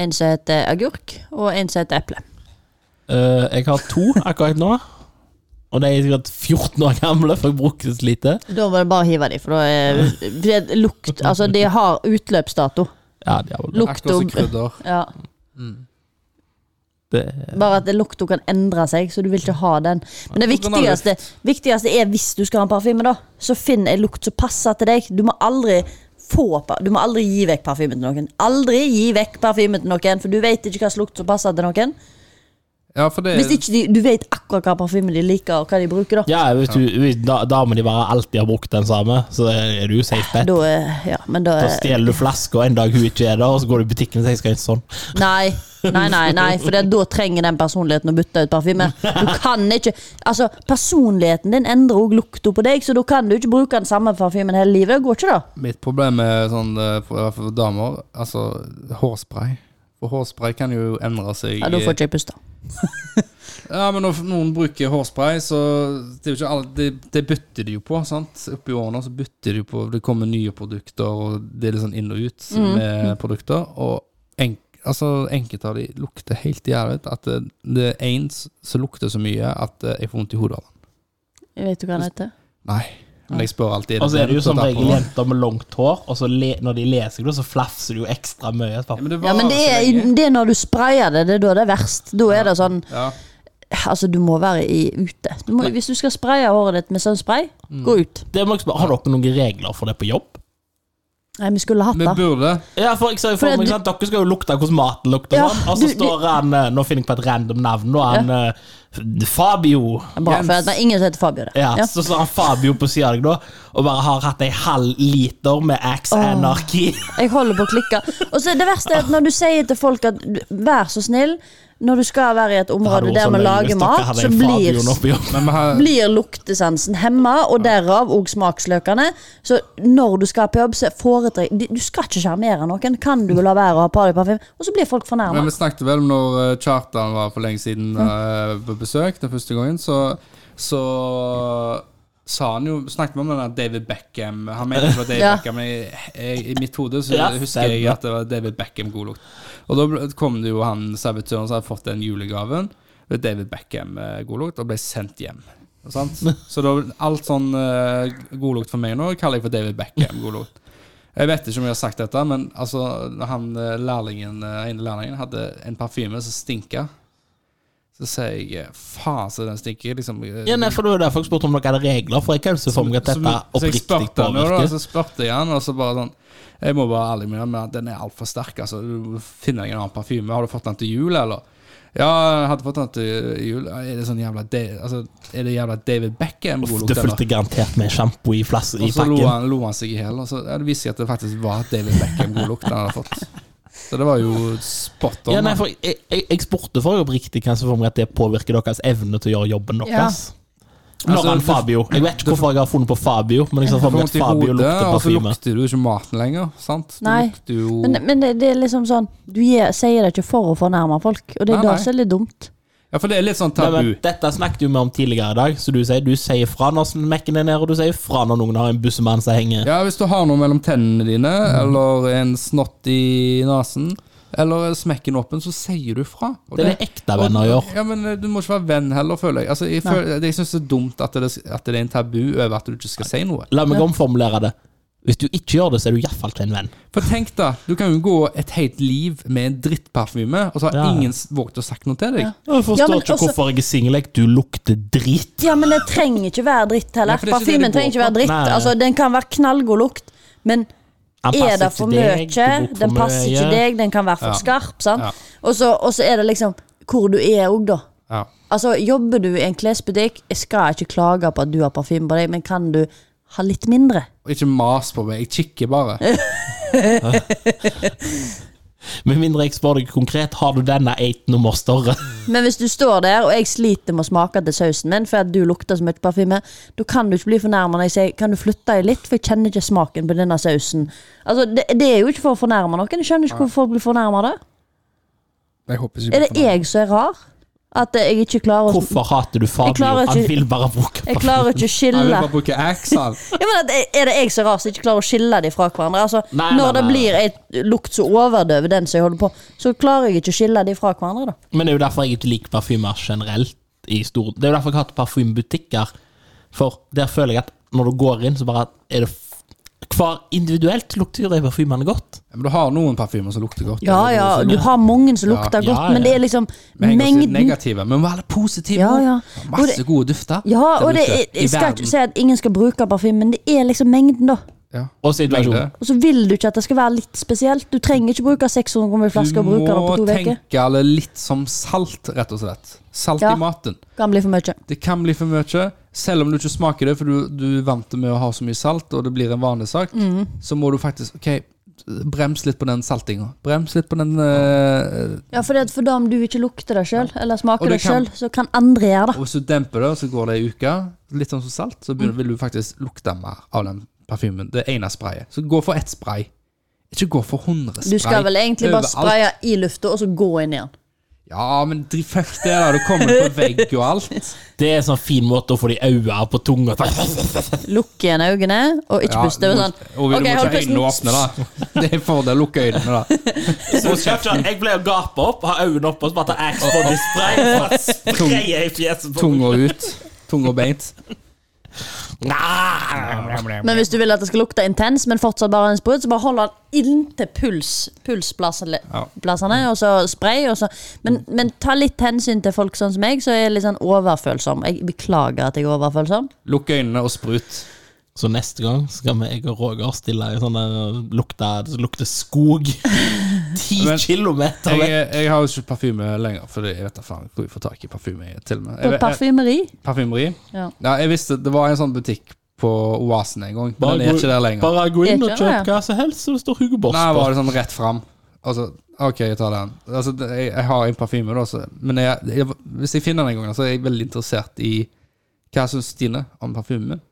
en som heter Agurk, og en som heter Eple.
Eh, jeg har to akkurat nå. Og de er sikkert 14 år gamle, for jeg brukte så lite.
Da var det bare å hive de, for da er for det er lukt Altså, de har utløpsdato.
Ja, de er vel
Lukt
Akkurat som
og
krydder.
ja,
det.
Bare at lukta kan endre seg, så du vil ikke ha den. Men det
på grunn av
viktigste, viktigste er hvis du skal ha en parfyme, da, så finn en lukt som passer til deg. Du må aldri få pa- Du må aldri gi vekk parfyme til noen. Aldri gi vekk parfyme til noen, for du vet ikke hva slags lukt som passer til noen.
Ja, for det
Hvis ikke de, du vet akkurat hva parfyme de liker, og hva de bruker, da.
Ja, hvis du, hvis da, da må de bare alltid ha brukt den samme, så er du safe bet.
Da er Ja, men da eh,
Da
er
stjeler du flaska en dag hun ikke er der, og så går du i butikken og sier jeg skal ha en sånn.
Nei, nei, nei, nei for det, da trenger den personligheten å bytte ut parfyme. Du kan ikke Altså, personligheten din endrer òg lukta på deg, så da kan du ikke bruke den samme parfymen hele livet. Det går ikke, da.
Mitt problem med sånn, eh, for, i hvert fall for damer, altså hårspray. For hårspray kan jo endre seg
Ja, da får ikke jeg puste.
Ja, men når noen bruker hårspray, så Det, er jo ikke alle, det, det bytter de jo på, sant? Oppi årene så bytter de jo på Det kommer nye produkter, og det er litt sånn inn og ut
Mm.
med produkter. Og enk, altså, enkelte av de lukter helt jævlig. At det, det er én s- som lukter så mye at eh, jeg får vondt i hodet av den.
Jeg vet du hva den heter?
Nei. Men jeg spør alltid
Og så Altså, er det jo
den som
som regel
tapper den?
jenter med langt hår, og så le, når de leser det, så flafser det jo ekstra mye.
Ja, men det,
Ja, men det
varer så
er,
lenge.
det er når du sprayer det, det er da det er verst. Da er det sånn
Ja.
Altså, du må være i, ute. Du må, hvis du skal spraye håret ditt med sunspray, gå ut.
Det må jeg spørre, Har dere noen regler for det på jobb?
Nei, vi skulle hatt
Vi
det.
burde
Ja, for jeg ser jo
For
for
det-
meg sant? Dere skal jo lukte hvordan maten lukter,
Ja,
sånn. og så
du-
står han eh, Nå finner jeg på et random navn, og han eh, F- Fabio.
Bra, for det er ingen som heter Fabio der.
Ja,
Ja.
Så står han Fabio på sida av deg, da, og bare har hatt ei halv liter med Axe Anarchy.
Jeg holder på å klikke. Og så er det verste er at når du sier til folk at du- vær så snill, når du skal være i et
Hadde
område
vært
der
så
vi
løgn
lager
hvis dere
mat,
hadde
så
en
blir,
Fabio nå på jobb.
Men vi har
blir luktesansen hemma, og derav òg smaksløkene. Så når du skal på jobb, så foretrekk de- Du skal ikke sjarmere noen. Kan du la være å ha på deg parfyme? Og så blir folk
Men
fornærma.
vi snakket vel om når eh, Kjartan var for lenge siden eh, på besøk den første gangen, så, så sa han jo Snakket vi om den der David Beckham Han mente det var David
Ja.
Beckham, men i, jeg- i mitt hode så
Ja,
husker jeg
stemmer.
at det var David Beckham god lukt. Og da ble- kom det jo han servitøren som hadde fått den julegaven, med David Beckham eh, god lukt, og ble sendt hjem. Sant? Så da, alt sånn eh, god lukt for meg nå kaller jeg for David Beckham god lukt. Jeg vet ikke om jeg har sagt dette, men altså, han eh, lærlingen, eh, ene lærlingen hadde en parfyme som stinka. Så sier jeg eh, faen så den stinker. Liksom, eh,
Ja, nei, for Det var derfor jeg spurte om dere hadde regler, for jeg kan jo se for meg at
så,
dette
så jeg
oppriktig
spurte han jo, da,
påvirker.
så spurte jeg han, og så bare sånn Jeg må være ærlig med deg, men at den er altfor sterk. Altså, du finner ingen annen parfyme. Har du fått den til jul, eller? Ja, jeg hadde fått den til jul. Er det sånn jævla, Da- altså, er det jævla David Beckham? god
Det
lukt, eller?
fulgte garantert med sjampo i, flass- i
Og så lo
pakken.
han, lo han seg i hjel, og så ja, det viste seg at det faktisk var David Beckham god lukt han hadde fått. Så det var jo spot on.
Ja, nei,
sånn, da.
for jeg, jeg, jeg spurte for oppriktig hva som for meg at det påvirker deres evne til å gjøre jobben deres. Når
Altså,
han
du-
Fabio Jeg vet ikke hvorfor jeg har funnet på Fabio, men jeg sa
Du
for
får
meg
vondt
at
i
Fabio
hodet, altså,
lukter
og så
parfyme.
lukter du ikke maten lenger. Sant? Du
Nei.
lukter jo
Men, men det, det er liksom sånn Du gir, sier det ikke for å fornærme folk, og det
Nei,
er
nei.
det som er litt dumt.
Ja, for det er litt sånn
Nei,
tabu.
men dette snakket jo vi om tidligere i dag, så du sier, du sier fra når mekken er nede, og du sier fra når noen har en bussemann som henger.
Ja, hvis du har noe mellom tennene dine, eller en snott i nesen, eller smekken åpen, så sier du fra. Og
Det er det ekte venner gjør.
Ja, men eh, Du må ikke være venn heller, føler jeg. Altså, jeg, føler, jeg syns det er dumt at det, at det er en tabu over at du ikke skal si noe.
La meg omformulere det. Hvis du ikke gjør det, så er du iallfall ikke en venn.
For tenk da, du kan jo gå et helt liv med en drittparfyme, og så har
Ja.
ingen s- våget å sagt noe til deg.
Jeg forstår
Ja, men
ikke
også-
hvorfor jeg er singel. jeg. Du lukter drit.
Ja, men det trenger ikke være dritt
Nei,
heller.
for det er ikke det
Parfymen
det går
trenger ikke
på.
være dritt.
Nei.
Altså, Den kan være knallgod lukt, men
Han
er det
passer
for
ikke
mye?
deg, du lukter for
Den passer ikke
mye.
deg, den kan være for
Ja.
skarp. sant?
Ja.
Og så og så er det liksom hvor du er òg, da.
Ja.
Altså, Jobber du i en klesbutikk, jeg skal ikke klage på at du har parfyme på deg, men kan du ha litt mindre? Eh,
Og ikke mas på meg, jeg kikker bare.
Med mindre jeg spør deg konkret, har du denne eight nummer større?
Men hvis du står der, og jeg sliter med å smake til sausen min fordi at du lukter så mye parfyme, da kan du ikke bli fornærma når jeg sier 'kan du flytte deg litt', for jeg kjenner ikke smaken på denne sausen. Altså, Det, det er jo ikke for å fornærme noen. Jeg skjønner ikke hvorfor folk blir fornærma av det.
Jeg håper ikke
Er det jeg som er rar? At eh, jeg ikke klarer å
Hvorfor hater du
Jeg klarer
Fabio? Han
ikke-
vil bare bruke
Jeg klarer ikke å
Jeg vil
skille
bare bruke axe, han.
ja, men at, Er det jeg som er rar som ikke klarer å skille de fra hverandre? Altså,
Nei, nei,
Når det
nei, nei.
blir en lukt som overdøver den som jeg holder på, så klarer jeg ikke å skille de fra hverandre, da.
Men det er jo derfor jeg ikke liker parfymer generelt. I stor. Det er jo derfor jeg har hatt parfymebutikker. For der føler jeg at når du går inn, så bare er det f Hver individuelt lukter jo de parfymene godt.
Men du har noen parfymer som lukter godt.
Ja
eller
ja,
noen som
du
lukter-
har mange som lukter
Ja,
godt,
ja,
men
ja.
det er liksom
Vi henger oss i det
mengden
negative, men vi er alle positive.
Ja,
også.
ja.
Det er
Og
Masse
det-
gode dufter.
Ja,
der
og det
ute
er,
i
jeg skal
verden.
ikke si at ingen skal bruke parfyme, men det er liksom mengden, da.
Ja.
Og situasjonen.
Mengde.
Og så vil du ikke at det skal være litt spesielt. Du trenger ikke bruke 600 kroner i flaske og bruke den på to
Du må
uker.
tenke det litt som salt, rett og slett. Salt
Ja.
i maten.
Kan bli for mye.
Det kan bli for mye, selv om du ikke smaker det, for du, du er vant til med å ha så mye salt, og det blir en vanesak,
Mm.
så må du faktisk Ok, brems litt på den saltinga. Brems litt på den eh,
Ja, for, det, at for da om du ikke lukter det sjøl, eller
Og
smaker
det
det sjøl, så kan andre gjøre det.
Og hvis du demper det, og så går det ei uke, litt sånn som salt, så
Mm.
begynner, vil du faktisk lukte mer av den parfymen. Det ene sprayet. Så gå for ett spray. Ikke gå for 100 spray.
Du skal vel egentlig bare
overalt.
spraye i lufta, og så gå inn igjen.
Ja, men dri- fuck det, da. Du kommer på vegg og alt.
Det er en sånn fin måte å få de øya på tunga
Lukke igjen øynene, og ikke
Ja,
puste. Det er sånn,
og du
ok,
må
hold
ikke
pusten.
øynene åpne, da. Det er en fordel. Lukk øynene, da.
Jeg pleier å gape opp, ha øynene oppe og så bare ta axe body spray. bare spraye i fjeset på
Tunga ut. Tunga beint.
Men hvis du vil at det skal lukte intens, men fortsatt bare en sprut, så bare hold den inntil puls, pulsplassene,
Ja.
plassene, og så spray. Og så. Men, men ta litt hensyn til folk sånn som meg, så er jeg litt sånn overfølsom. Jeg beklager at jeg er overfølsom.
Lukk øynene og sprut.
Så neste gang skal vi, jeg og Roger stille i sånn der lukta, det lukter skog. Ti
Men-
kilometer
Jeg,
vekk.
jeg har jo ikke parfyme lenger, for jeg vet da faen hvor jeg får tak i parfyme. i, til og med.
På
Jeg, jeg,
parfymeri.
parfymeri.
Ja.
Ja, jeg visste Det var en sånn butikk på Oasen en gang, men den er
gå-
ikke der lenger.
bare gå inn og
Er ikke
kjøp
det?
hva som helst, så det står Hugo Boss
Nei,
på.
var det sånn rett fram. Altså, OK, jeg tar den. Altså, det, jeg, jeg har en parfyme, da, så, men jeg, jeg, hvis jeg finner den en gang, så er jeg veldig interessert i hva syns Stine om parfymen min?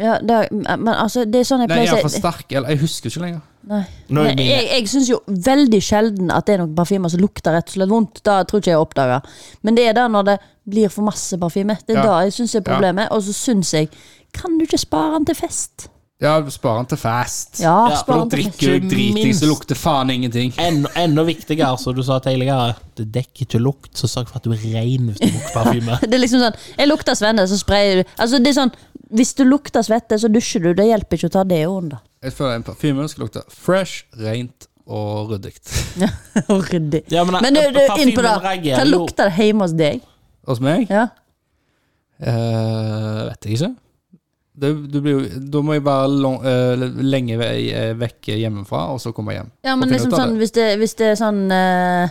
Ja, det, men altså, det er sånn jeg
Den er
pleier å
for
si.
sterk, eller jeg husker ikke lenger.
Nei.
Nå er
Men
mine-
jeg, jeg syns jo veldig sjelden at det er noen parfymer som lukter rett og slett vondt. Da tror ikke jeg oppdager. Men det er da når det blir for masse parfyme. Det er
Ja.
da jeg syns er problemet. Og så syns jeg Kan du ikke spare den til fest?
Ja, spar den til fast.
Ja,
Ja,
spare
For da
den til fest.
drikker du driting,
Minst.
så lukter faen ingenting.
Enda, enda viktigere, som du sa tidligere, det dekker ikke lukt, så sørg for at du er ren hvis du bruker parfyme.
Det er liksom sånn Jeg lukter svenne, så sprayer du Altså, det er sånn Hvis du lukter svette, så dusjer du. Det hjelper ikke å ta det under.
Jeg føler en parfyme skal lukte fresh, rent og ryddig.
Ryddig.
Ja, men- eh,
Men du, du inn på det.
parfymen reagerer
Hva
jo-
lukter det hjemme hos deg?
Hos meg?
Ja.
Eh, vet jeg ikke. Det, du blir jo, da må jeg være lang- eh, lenge vei, eh, vekk hjemmefra, og så komme hjem.
ja,
Og
men
finne ut
liksom
av
sånn Hvis det, hvis det er sånn eh,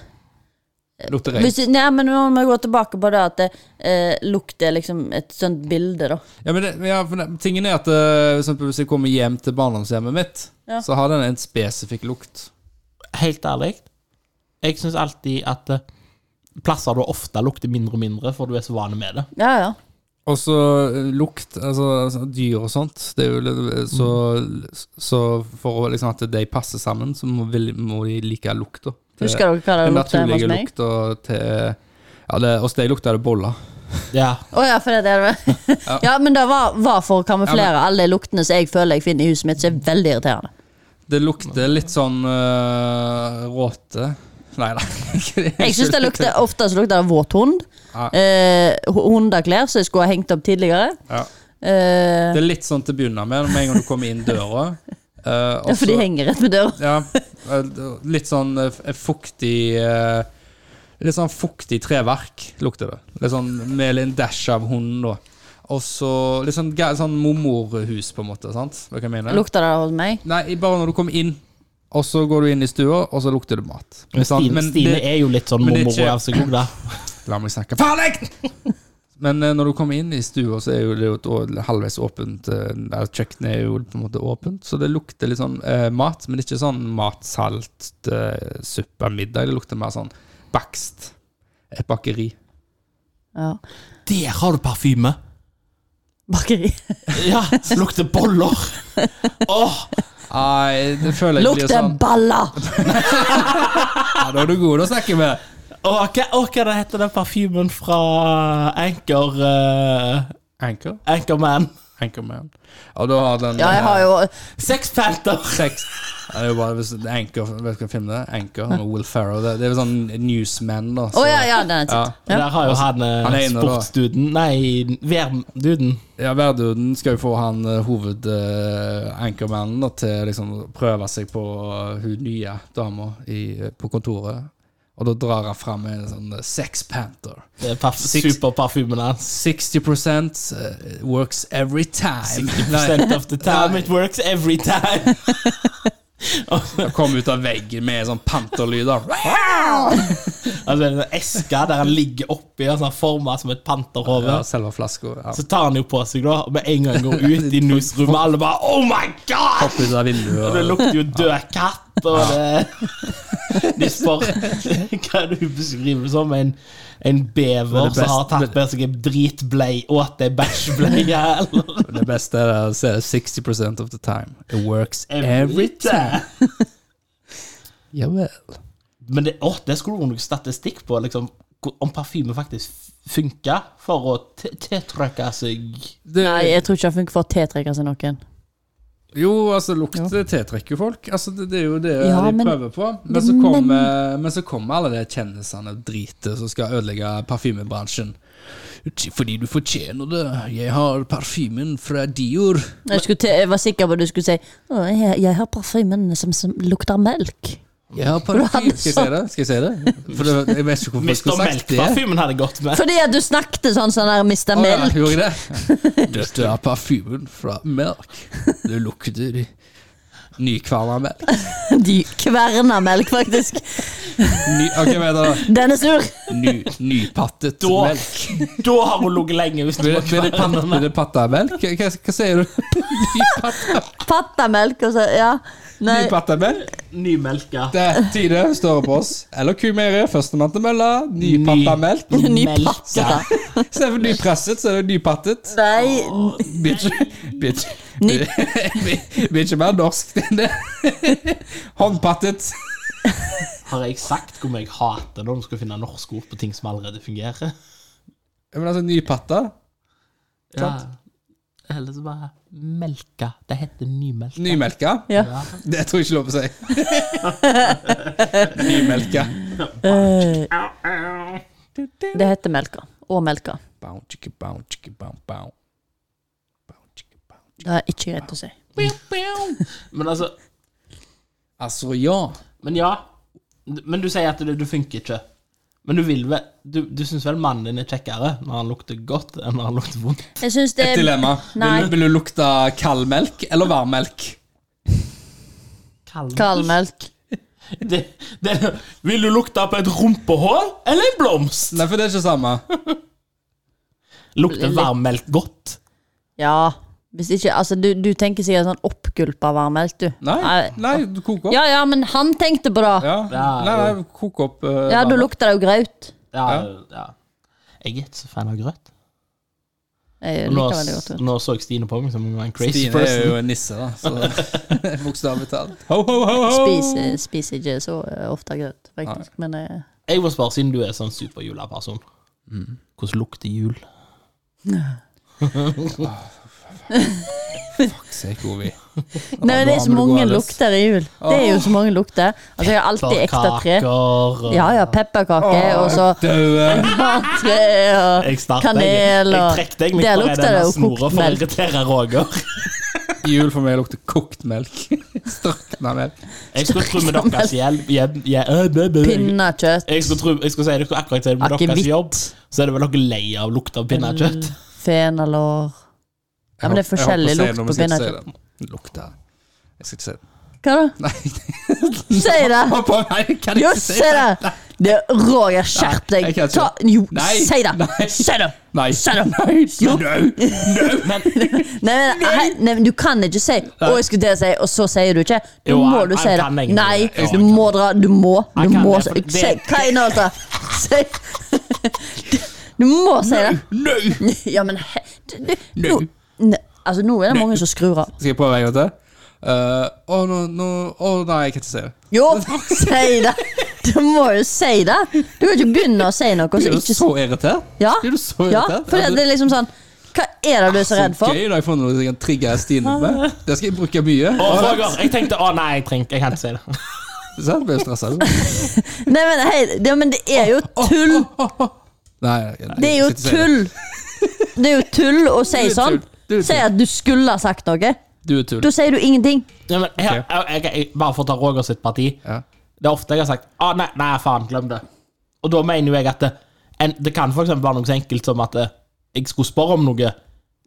Lukter
sånn- Hvis,
rent.
nei, men nå må jeg gå tilbake på det at det eh, lukter liksom et sånt bilde, da.
Ja, men det, ja, for det- tingen er at eh, for eksempel hvis jeg kommer hjem til barndomshjemmet mitt,
Ja.
så har den en spesifikk lukt.
Helt ærlig, jeg syns alltid at eh, plasser du ofte lukter mindre og mindre, for du er så vane med det.
Ja, ja.
Og så eh, lukt, altså altså, dyr og sånt, det er jo litt- eh, Så,
Mm.
så for å liksom at de passer sammen, så må, vil- må de like lukta.
Husker dere hva det
Den
lukter hjemme
naturlige
hos meg?
lukta til Ja, det- hos deg lukta det boller.
Ja,
Å ja, for det er det. ja, men det var, var for å kamuflere alle de luktene som jeg føler jeg finner i huset mitt, som er veldig irriterende.
Det lukter litt sånn øh, råte. Nei da.
Jeg synes det lukter Ofte så lukter det våt hund.
Ja.
Eh, ho- hundeklær som jeg skulle ha hengt opp tidligere.
Ja.
Eh,
Det er litt sånn til å begynne med, med en gang du kommer inn døra. øh, og
ja, for de
så-
henger rett ved døra.
Ja, øh, litt sånn øh, f- fuktig øh, Litt sånn fuktig treverk lukter det. Litt sånn med en dash av hunden, da. Og så litt sånn, ga- sånn mormorhus, på en måte. sant? Hva kan jeg mene?
Lukter det hos meg?
Nei, bare når du kommer inn, og så går du inn i stua, og så lukter det mat.
men
Sant?
Stine,
Men
Stine
det-
er jo litt sånn
men det er
mormor
ikke-
av seg òg, da.
La meg snakke ferdig! Men eh, når du kommer inn i stua, så er jo det jo et å- halvveis åpent eh, der Kjøkkenet er jo på en måte åpent, så det lukter litt sånn eh, mat. Men det er ikke sånn matsalt, eh, suppe, middag. Det lukter mer sånn bakst. Et bakeri.
Ja.
Der har du parfyme!
Bakeri.
Ja, som lukter boller! Åh,
Nei, det føler jeg blir
Lukter
sånn
baller!
ja, Da er du god å snakke med.
åh, hva, åh, hva det heter den parfymen fra Anchor eh,
Anchor.
Anchorman?
Anchorman. Og da har den
Ja, jeg har jo
Sexpelter!
Sex ja, Det er jo bare hvis det er Anchor, vet du hva filmen det er? Anchor med Will Ferrell. Det, det er jo sånn newsman, da.
Å ja, ja, den er
Ja.
titt. Ja.
Der har jo han, eh,
Altså, han er inne, da.
sportsduden Nei, værduden.
Ja, Verduden skal jo få han eh, hoved eh, anchormannen da, til liksom å prøve seg på eh, hun nye dama i, eh, på kontoret. Og da drar han fram en sånn eh, Sex Panther.
Det er parf-
Six-
Superparfymen hans.
60 eh, works every time. Nei,
Percent of the time it works every time.
han kom ut av veggen med en sånn panterlyd. da.
Altså En eske der han ligger oppi og sånn forma som et panterhode.
Ja, selve flaska. Ja.
Så tar han jo på seg, da, og med en gang går ut i newsroomet, alle bare Oh my god!
Hopper ut av vinduet.
Og det lukter jo død katt, og det De spør hva er det hun beskriver det som? En, en
Men
bever
det
som har
beste-
tatt på seg en dritblei, åt ei bæsjbleie, eller
Det beste er å se 60 of the time. It works every
Every time.
Ja vel.
Men det, åh, det skulle vært noe statistikk på, liksom, hvor- om parfyme faktisk funker for å t- tiltrekke seg
Nei, jeg tror ikke han funker for å tiltrekke seg noen.
jo, altså, lukt tiltrekker jo folk. Altså, det, det er jo det
Ja,
de
men-
prøver på. Men så, kommer, men så kommer alle de kjendisene og driter som skal ødelegge parfymebransjen. Fordi du fortjener det. Jeg har parfymen fra Dior.
Jeg, skulle til, jeg var sikker på at du skulle si «Å, jeg, jeg har parfymen som, som lukter melk.
Jeg har
hadde
parfyme. Skal jeg si det? Skal jeg si det? For det, jeg vet ikke hvorfor jeg
Mr.
skulle sagt det.
Melk-parfymen hadde gått med.
Fordi at du snakket sånn sånn der
Å,
Mr.
ja,
Melk.
gjorde jeg det? Dette er parfymen fra melk. Det lukter nykverna melk.
De kverner melk, faktisk.
Ny, ok, hva heter det?
Den er sur!
Ny, nypattet
Da-
melk.
Da har hun ligget lenge. Hvis
Blir
det
det, blir det, pat, blir det patta melk? Hva, hva sier du? Nypatta,
Pattamelk, og så Ja. Nei.
nypatta melk?
Nymelka.
Det er Tide står på oss. Eller Kumere, førstemann til mølla. Nypatta melk.
Ny
Melka.
patta.
Istedenfor nypresset, så er det nypattet.
Nei.
Blir ikke- blir ikke-
Ny-
blir- blir ikke mer norsk enn det. Håndpattet.
Har jeg sagt hvor mye jeg hater når du skal finne norske ord på ting som allerede fungerer?
Men altså, nypatta.
Ja. Eller så bare melka. Det heter nymelka.
Nymelka.
Ja.
Det tror jeg ikke er lov å si. Nymelka.
Eh, det heter melka. Og melka.
Bow, chicka, bow, chicka, bow, bow. Bow, chicka, bow.
Det er ikke greit å si.
Men altså
Altså, ja.
Men ja. Men du sier at det, det funker ikke. Men du vil vel Du, du syns vel mannen din er kjekkere når han lukter godt, enn når han lukter vondt?
Jeg syns det
Et dilemma.
Nei.
Vil, du- vil du lukte kald melk eller varm melk?
Kald melk.
Det, det, vil du lukte på et rumpehull eller en blomst?
Nei, for det er ikke samme.
Lukter varm melk godt?
Ja. Hvis ikke Altså, du, du tenker sikkert sånn oppgulpa varmmelk, du.
Nei, nei du koker opp.
Ja ja, men han tenkte på det.
Ja.
Ja,
Nei, nei, koker opp. eh,
Ja,
varm
da
melk.
lukter det jo graut.
Ja, ja. Jeg er ikke så fan av grøt.
Jeg
Nå,
liker veldig godt det.
nå så jeg Stine på meg som om hun var en crazy
Stine er
person.
jo en nisse, da. Så bokstavelig talt. Ho, ho, ho, ho.
Spiser, spiser ikke så eh, ofte grøt, faktisk. Men eh,
Jeg må spørre, siden du er sånn superjula-person,
Mm.
hvordan lukter jul?
Se hvor vi
Nei,
Ja,
det er
da
så
må du gå
mange
alles.
lukter i jul. Det er jo så mange lukter. Altså, jeg har alltid ekte tre.
Pepperkaker og-
Ja ja, pepperkaker, og så
Daue.
tre, og
eh, Jeg starter,
kanel
jeg, jeg
og
trekk deg litt
Der
bare i
lukter
denne
det jo
snora
kokt
for å
melk.
irritere Roger.
Jul for meg lukter kokt melk. Strakna melk.
Jeg skulle tro med deres hjelp hjem- hjem- øh, bø, bø.
pinnekjøtt.
Jeg skulle, tro, jeg skulle si det akkurat til med deres
Akevitt.
jobb, så er det vel dere lei av lukta av pinnekjøtt.
Fenalår. Ja, men det er
Jeg håper- jeg håper å
forskjellig
si
lukt
noe, men jeg
på
skal ikke
pinnekjøtt.
si det. Lukter Jeg skal ikke si det.
Hva da?
Nei,
Si det!
Hva på meg? Kan jeg
Jo,
ikke si
si det! Det er Roger,
Nei,
skjerp deg!
jeg kan ikke.
Ta, jo,
Nei,
si det!
nei.
Si det!
Nei.
Si det.
Nei,
Jo.
nei,
Mm.
Men
Nei, men, hei, nei, men du kan ikke si 'Å, jeg skulle til å si', og så sier du ikke. Du
Jo,
må
jeg-
du
jeg
si det.
kan egentlig
Nei,
det. Jo,
du
jeg kan
må dra. Du må.
Jeg
Du
kan
må
det,
si
for det-
si- Hva er innholdet? Si Du må si det.
nei.
Ja, men he- du- du- nå- ne- Altså, nå er det mange som skrur av.
Skal jeg prøve en gang til? Eh, Å, nå, nå Å, nei, jeg kan ikke si det.
Jo, si det! Du må jo si det! Du kan ikke begynne å si noe og så
Blir du
Altså, ikke sånn.
så irritert?
Ja,
Blir du så
ja
irritert?
for det, det er liksom sånn Hva er det du er så redd
Altså,
for?
gøy da jeg får noe som jeg kan trigge Stine med. Det skal jeg bruke mye.
Å, Roger, jeg tenkte å nei, jeg, trenger, jeg kan ikke si det.
Så jeg blir stressa.
Nei, men, hei, det, men det er jo tull!
Nei, nei,
Det er jo
jeg skal ikke si
tull! Det er jo tull å si
Du er
sånn.
tull. Du er
Si
tull.
at du skulle ha sagt noe.
Du er tull.
Da sier du ingenting.
Ja, men her, jeg, jeg, jeg, bare for å ta Roger sitt parti.
Ja.
Det er ofte jeg har sagt å nei, nei, faen, glem det. Og da mener jo jeg at det, en, det kan for eksempel være noe så enkelt som at eh, jeg skulle spørre om noe,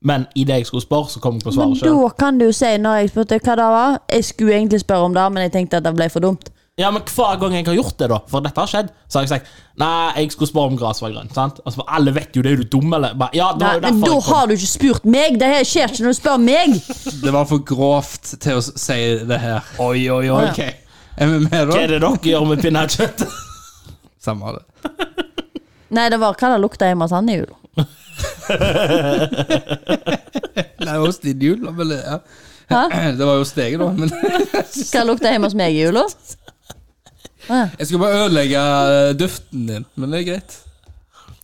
men i det jeg skulle spørre, så kom jeg på
Men
svaret sjøl.
da kan du jo si når jeg spurte hva det var Jeg skulle egentlig spørre om det, men jeg tenkte at det ble for dumt.
Ja, men hver gang jeg har gjort det, da, for dette har skjedd, så har jeg sagt nei, jeg skulle spørre om gress var grønt. sant? Altså, for alle vet jo det, er du dum, eller? Bare, ja, det
Nei,
var jo
men
derfor
da
jeg kom.
har du ikke spurt meg! Det her skjer ikke når du spør meg!
Det var for grovt til å si det her.
Oi, oi, oi.
Ok, Er vi med,
Hva er
da?
det dere gjør med pinnekjøtt?
Samme av det.
Nei, det var hva det lukta hjemme hos Hanne i jula.
Nei, hos din jul, da. Men, det- ja.
Hæ?
Det var jo steget, da. Men
Hva lukta hjemme hos meg i jula? Å ja.
jeg skulle bare ødelegge eh, duften din. Men det er greit.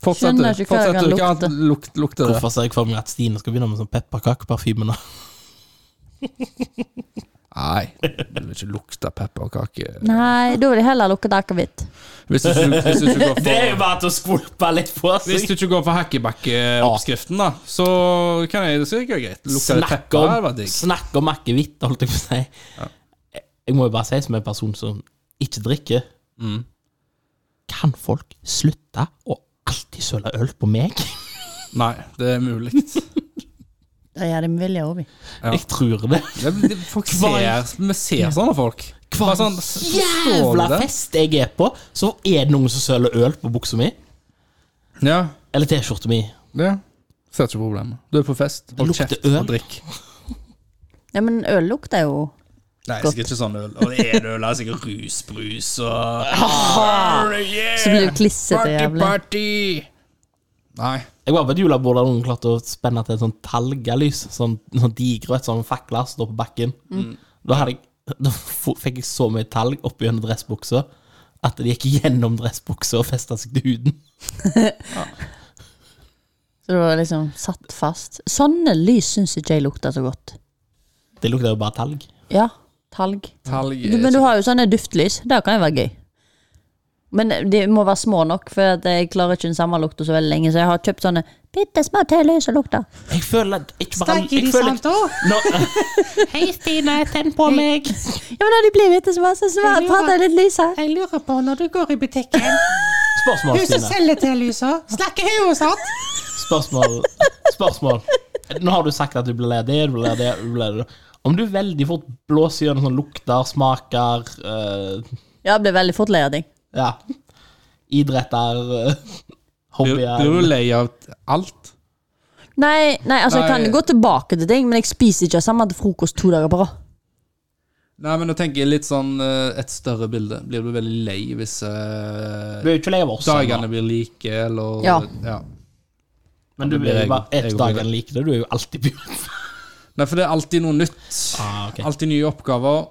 Fortsett, du.
Skjønner ikke hva det
Fortsett,
kan
du. Hva annet luk- lukter det?
Hvorfor ser jeg for meg at Stine skal begynne med sånn pepperkakeparfyme nå?
Nei, du vil ikke lukte pepperkake.
Nei, da vil jeg heller lukke akevitt.
Hvis du, ikke- hvis du ikke går
Det er jo
for
bare til å skvulpe litt på
hvis
seg.
du ikke går for hakkebakkeoppskriften, da, så kan jeg så er det greit. Lukter det
Snakk
pepper? Det var
om,
digg.
snakk om akevitt, holdt jeg på å si. Jeg må jo bare si som en person som ikke drikker
Mm.
Kan folk slutte å alltid søle øl på meg?
Nei, det er mulig.
Det gjør de med vilje òg, vi.
Ja.
Jeg tror det.
Det, det, folk ser, vi ser sånne folk.
Hva
Bare sånn, forstår du
jævla
det?
fest jeg er på, så er det noen som søler øl på buksa mi.
Ja,
Eller T-skjorta mi.
det ser ikke problemet. Du er på fest, hold
Lukter
kjeft
øl.
og drikk.
Ja, men øl lukter jo
Nei,
Godt.
sikkert ikke sånn øl. Og det er det øl, det er sikkert rusbrus og
Så blir det klissete
Party,
jævlig.
party! Nei.
Jeg var på et julebord der noen klarte å spenne til et sånt talgalys. Sånn, sånn digrøt, sånn fakler som står på bakken. Da, hadde jeg, da f- fikk jeg så mye talg oppi under dressbuksa at det gikk gjennom dressbuksa og festa seg til huden.
Så det var liksom satt fast. Sånne lys syns ikke jeg lukter så godt.
Det lukta jo bare talg.
Ja, talg.
Talg
Du, men du har jo sånne duftlys. Det kan jo være gøy. Men de må være små nok, for at jeg klarer ikke den samme lukta så veldig lenge. Så jeg har kjøpt sånne bitte små telys og lukter.
Jeg føler at ikke bare, jeg føler, nå, eh,
Hei, Stine. Tenn på meg.
Ja, men da de blir bitte små, så svært
Jeg lurer-
prater jeg litt lysere.
Jeg lurer på, når du går i butikken
Spørsmål,
Hun som
Stine.
selger T-lyser, snakker hun sånn?
Spørsmål. Spørsmål. Nå har du sagt at du blir lei det, du blir lei det, du blir lei det. Om du veldig fort blåser gjennom sånn lukter, smaker eh,
Ja, jeg blir veldig fort lei av ting.
Ja. Idretter, eh,
Blir
hobbyer
blir du lei av alt?
Nei, nei, altså jeg
Nei.
kan gå tilbake til ting, men jeg spiser ikke samme til frokost to dager på rad.
Nei, men nå tenker jeg litt sånn eh, et større bilde. Blir du veldig lei hvis eh,
Du er jo ikke lei av oss,
dagene blir like, eller
sånn, Ja.
men du
blir
er
jeg-
jo bare et
jeg blir-
dagen like det. Du er jo alltid bjørn.
Nei, for det er alltid noe nytt.
Ah, ok.
Alltid nye oppgaver.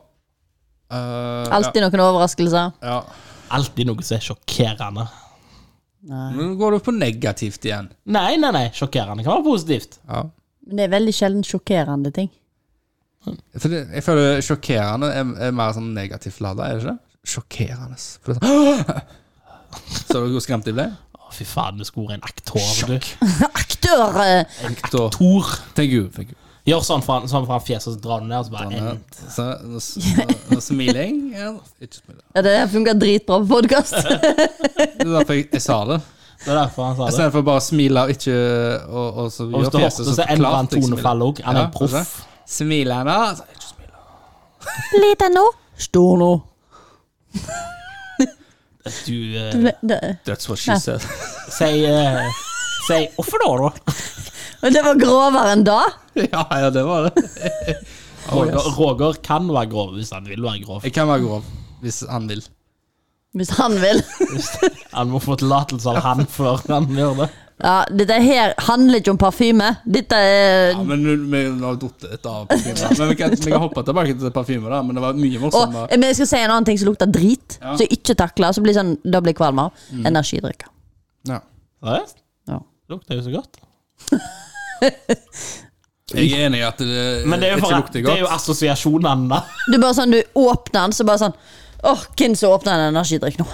Eh,
Alltid noen overraskelser.
ja, ja.
Alltid noe som er sjokkerende.
Men nå går du på negativt igjen.
Nei, nei, nei. Sjokkerende kan være positivt.
Ja.
Men det er veldig sjelden sjokkerende ting.
For det, jeg føler sjokkerende er, er mer sånn negativt lada, er det ikke? det? Sjokkerende. For det er sånn, Så du hvor skremt jeg ble?
Å, fy faen, du skulle vært en aktor, du.
Aktør! eh,
Da
Tor.
tenker jeg tenker jeg.
Gjør sånn fra, sånn fra fjeset, og så drar du ned, og så bare
Ja,
en-
Så, og, s- og, og smiling ja, Ikke smiling.
Ja, det her funker dritbra på podkast.
Det er derfor jeg, jeg sa det.
Det er derfor han
I
sa det.
stedet for bare å smile og ikke Og, og så
Og hvis
gjør
du
fjeset
hørte, så
så
endrer han
klart jeg smiler.
tonefall òg. Han er
Ja,
proff.
altså. Smiler han da? Altså, ikke smiler.
Liten nå. Stor nå.
du eh,
Men Det,
That's what she said.
sier eh, sier, Hvorfor da, da?
og det var grovere enn da?
ja, ja, det var det. oh,
Roger,
yes.
Roger kan være grov hvis han vil være grov.
Jeg kan være grov, hvis han vil.
Hvis han vil.
Han må få tillatelse av han før han gjør det.
Ja, dette her handler ikke om parfyme. Dette er
Ja, men nu- vi har dratt litt av parfyme. Men vi kan, vi kan hoppe tilbake til parfyme, da. Men det var mye
Og eh,
morsommere.
men jeg skal si en annen ting som lukter drit,
Ja.
som jeg ikke takler. Så blir sånn, da blir jeg kvalm av. Energidrikker.
Ja.
Seriøst?
Ja.
Lukter jo så godt.
Jeg er enig i at det,
Men det er jo,
ikke
for,
lukter
det er jo
godt.
assosiasjonene, da.
Du bare sånn, du åpner den, så bare sånn Åh, hvem som åpner en energidrikk nå?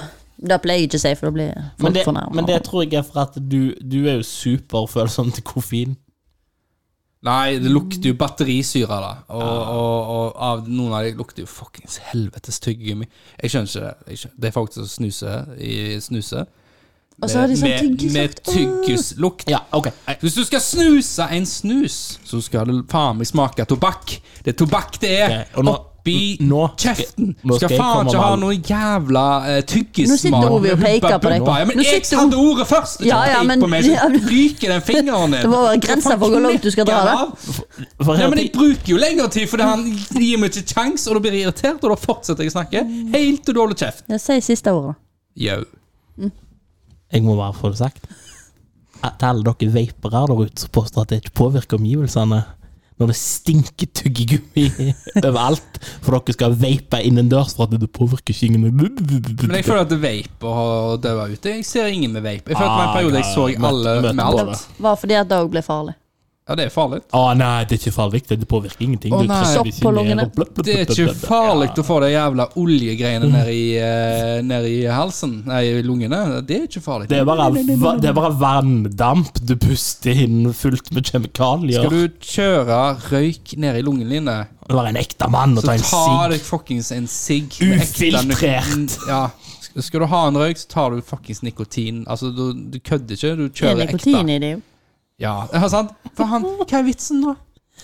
Det pleier jeg ikke å si, for da blir
Men
folk
det,
fornærmet.
men det tror jeg er for at du, du er jo superfølsom til koffein.
Nei, det lukter jo batterisyre, da. Og,
Ah.
og, og av noen av de lukter jo fuckings helvetes tyggegummi. Jeg skjønner ikke det. Jeg skjønner. Det er folk som snuser i snuser.
Og så har de sånn
med, med
tyggislukt.
tyggislukt.
Ja, ok.
Hvis du skal snuse en snus, så skal det faen meg smake tobakk. Det er tobakk det er.
Ok, og nå-
Oppi
n- nå skal-
kjeften.
nå skal
skal
jeg komme
faen ikke
med
ha
all-
noe jævla uh,
Nå sitter
tyggissmak.
Ovi og peker på deg.
Bubba, Ja, men
Nå
jeg
sitter
hadde ordet først! Ikke
Ja, ja,
pek
men-
på meg, så
ja, men-
ryker den fingeren ned.
Det må være grenser for hvor langt du skal dra det.
For
Ja,
hele
men jeg
tiden-
bruker jo lengre tid, fordi han gir meg ikke kjangs, og da blir jeg irritert, og da fortsetter jeg å snakke helt til du holder kjeft.
Ja, Si siste ordet.
Yo.
jeg må bare få det sagt. At Til alle dere vapere der ute som påstår at det ikke påvirker omgivelsene. Når det stinker tyggegummi overalt, for dere skal vape innendørs for at det påvirker ikke ingen
Men jeg føler at vape har dødd ut. Jeg ser ingen med vape. Jeg føler at det var en
Ah,
periode jeg
ja,
så
møtte-
alle
møtte
med
alle.
alt.
Det var fordi at det òg ble farlig.
Ja, det er farlig.
Å nei, det er ikke farlig. Det påvirker ingenting.
Å,
Du
nei.
trenger
Sopp
ikke
på
ned og
lungene.
blup, blup, blup,
Det er
blup,
ikke
blup.
farlig å få de jævla oljegreiene ned i, eh, ned i halsen, nei, i lungene. Det er ikke farlig.
Det er bare, va- det er bare vanndamp du puster inn fullt med kjemikalier.
Skal du kjøre røyk ned i lungene dine,
Være en ekte mann og
så
ta en
ta
sigg.
deg fuckings en sigg. med ekte
Ufiltrert.
nik- Ja. Sk- Skal du ha en røyk, så tar du fuckings nikotin. Altså, du, du kødder ikke. Du
Det er
kjører
nikotin
ekte.
i det, jo.
Ja, ja, sant? For han, hva er vitsen da?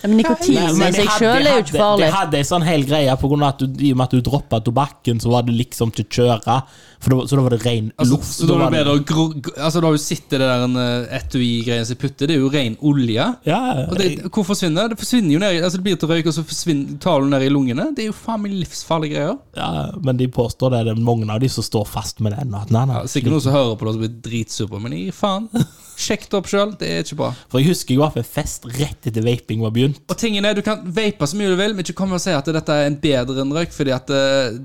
Ja, Men nikotin i
de
seg
hadde-
sjøl er jo
de
ikke
hadde-
farlig.
De hadde en sånn hel greie på grunn av at du, i og med at du droppa tobakken, så var det liksom ikke kjøre. For da, var- så da var det ren
Altså,
luft.
så da er
var
det bedre å gro... gro- Altså, da har du sittet det der en eh, etui-greien som jeg putter, det er jo ren olje.
ja,
Og det, hvor forsvinner det? Det forsvinner jo ned, i- altså det blir til røyk, og så forsvinner, tar du det ned i lungene. Det er jo faen meg livsfarlige greier.
ja, men de påstår det. Det er mange av de som står fast med det ennå. at Nei, nei,
Ja, sikkert noen som hører på det og blir dritsur på men gi faen. Sjekk det opp sjøl, det er ikke bra.
For jeg husker jeg var på en fest rett etter vaping var begynt.
Og tingen er, Du kan vape så mye du vil, men ikke kom og si at dette er en bedre enn røyk, fordi at eh,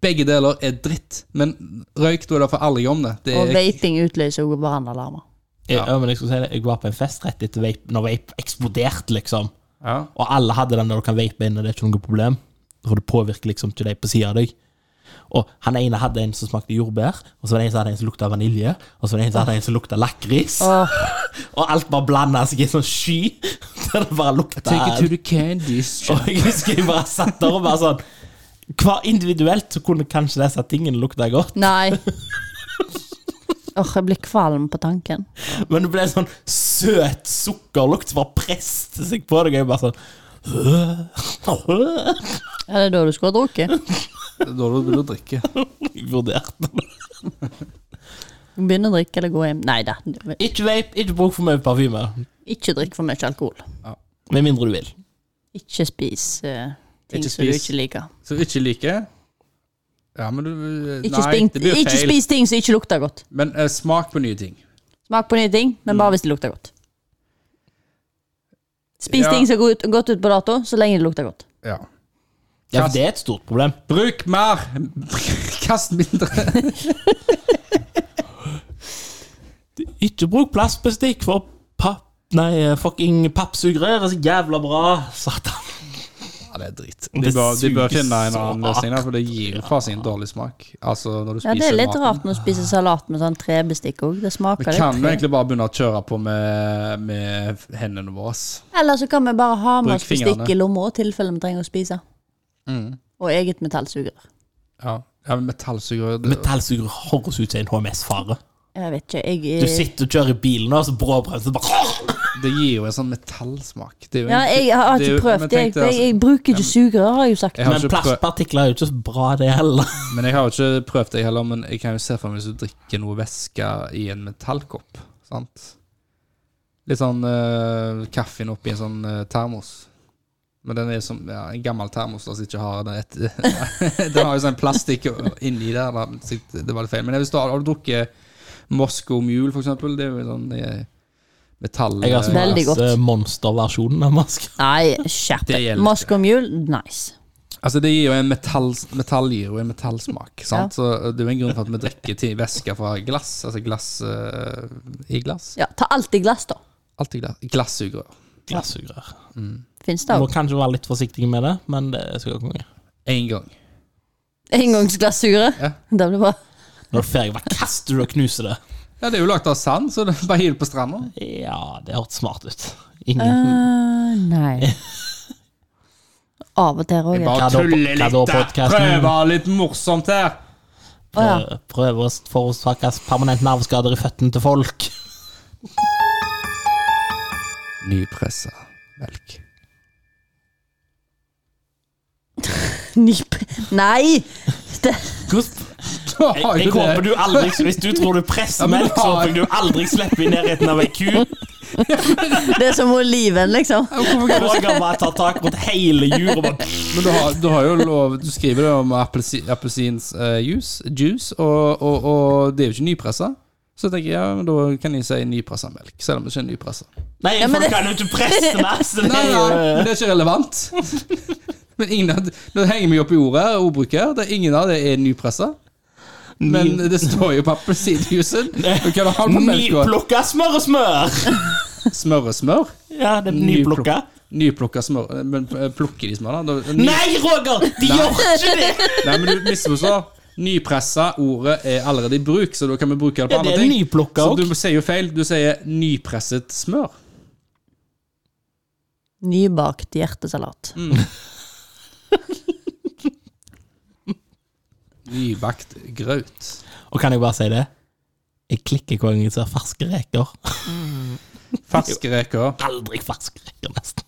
begge deler er dritt. Men røyk, da er det for alle om det. det
Og
er,
vaping utløser jo brannalarmer.
Jeg, ja. men jeg skulle si det, jeg var på en fest rett etter vape, når vape eksploderte, liksom.
ja.
Og alle hadde den der du kan vape inne, det er ikke noe problem. For det påvirker liksom ikke deg på sida av deg. Og han ene hadde en som smakte jordbær, og så var det en som hadde en som lukta vanilje, og så var det en som hadde en som lukta lakris.
Åh.
Og alt bare blanda seg i en sånn sky der det bare lukta
Take it to the candy shop.
Og jeg husker jeg bare satt der og bare sånn Hver individuelt så kunne kanskje disse tingene lukta godt,
Nei. Åh, jeg blir kvalm på tanken.
men det ble en sånn søt sukkerlukt som bare presste seg på deg, og jeg bare sånn øh, øh.
Ja, det er da du skulle ha drukket.
Det er Da du begynner å drikke.
Jeg vurderte det.
Begynne å drikke eller gå hjem. Nei da.
Ikke vape, ikke bruk for mye parfyme.
Ikke drikk for mye alkohol.
Med mindre du vil.
Ikke spis eh, ting
Ikke
som du
spis.
ikke liker.
Så ikke like Ja, men du eh,
Ikke,
Nei,
spink,
det blir
ikke
feil.
spis ting som ikke lukter godt.
Men eh, smak på nye ting.
Smak på nye ting, men
Mm.
bare hvis det lukter godt. Spis
Ja.
ting som går ut, godt ut på dato, så lenge det lukter godt.
Ja.
Ja, for det er et stort problem.
Bruk mer! Kast mindre!
Ikke bruk plastbestikk, for papp... Nei, eh, fucking pappsugere er så jævla bra. Satan.
Ja, det er dritt.
Det
De bør, de bør
suger
finne en
så
annen løsning, der, for det gir faen sin dårlig smak. Altså, når du
Ja,
spiser
Det er litt
maten.
rart når du spiser salat med sånn trebestikk òg. Det
Vi
smaker
kan jo
litt.
egentlig bare begynne å kjøre på med, med hendene våre.
tre. Eller så kan vi bare ha med
Bruk
oss bestikk
fingrene.
i lomma i tilfelle vi trenger å spise.
Mm.
Og eget metallsugerør.
Ja. ja, men metallsugerør det-
Metallsugere høres ut som en HMS-fare.
Jeg vet ikke, jeg
Du sitter og kjører i bilen, og så bråbremser bare
Det gir jo en sånn metallsmak. Det er jo
Ja,
egentlig-
jeg har
er
ikke
jo-
prøvd
men
det. Jeg,
tenk altså.
jeg, jeg bruker ikke sugerør, har jeg jo sagt.
Jeg har
Men
ikke prøvd-
plastpartikler er jo ikke så bra, det heller.
Men jeg har jo ikke prøvd det heller, men jeg kan jo se for meg hvis du drikker noe væske i en metallkopp. Sant? Litt sånn eh, kaffen oppi en sånn eh, termos. Men den er som ja, en gammel termos da, som ikke har den rett Den har jo sånn plastikk inni der, da. så Det var litt feil. Men hvis du har, har du drukket Moscow Mule, for eksempel, det er jo sånn eh, metall...
Jeg har
Veldig godt.
smakt eh, monsterversjonen av masker.
Nei, skjerp
Det
deg.
gjelder
Mask om jul, nice.
Altså Det gir jo en metall, metall gir jo en metallsmak. sant? Så eh, Det er jo en grunn for at vi drikker til væske fra glass. Altså glass eh, i glass.
Ja, ta alt i glass, da.
Alltid glass. Glassugerør.
Glassugrør.
Fins det
Må
òg.
kanskje være litt forsiktig med det, men det skal gå konge.
Én gang.
Engangsglassuret.
Ja.
Det blir bra.
Når du er ferdig, bare kaster du og knuser det.
Ja, det er jo lagd av sand, så det er bare hiv det på stranda.
Ja, det hørtes smart ut. Ingen
Eh, nei. Av og til òg.
Jeg
ja.
bare
Hva da-
tuller
hva
litt,
da
da.
podcasten?
Prøver litt morsomt her.
Å ja.
prøver, prøver Eh, å forårsake permanent nerveskader i føttene til folk.
Nypressa melk.
Nyp. Nei! Det,
Jeg,
Jeg, jeg håper du aldri, Hvis du tror du presser melk, så håper jeg du aldri slipper i nærheten av ei ku.
det er som oliven, liksom.
Roger bare tar tak rundt hele juret og bare
Men du har, du har jo lov Du skriver det om appelsi- appelsins eh, juice, juice og, og, og det er jo ikke nypressa. Så tenker jeg, ja, men da kan jeg si nypressa melk, selv om det ikke er nypressa.
Nei,
Ja, men
for du
det-
kan jo ikke presse meg! Så det
Nei,
er
nei, men
jo
det er ikke relevant. Men ingen, Nå henger vi opp i ordet og ordbruket. her. Det er ingen av det er nypressa. Men det står jo på appelsinjuicen. Du kan ha den på melka.
Nyplukka smør og smør!
Smør og smør.
Ja, det er nyplukka.
Nyplukka smør. Men eh, plukker de smør, da? Da- ny-
Nei, Roger! De gjør ikke det!
Nei, men du misforstår. Nypressa, ordet er allerede i bruk, så da kan vi bruke det på
Ja, det
andre
er
ting.
nyplukka
Så
òg.
du sier jo feil. Du sier nypresset smør.
Nybakt hjertesalat.
Mm, Nybakt grøt.
Og kan jeg bare si det? Jeg klikker hver gang jeg ser ferske reker.
Ferske reker.
Aldri ferske reker, nesten.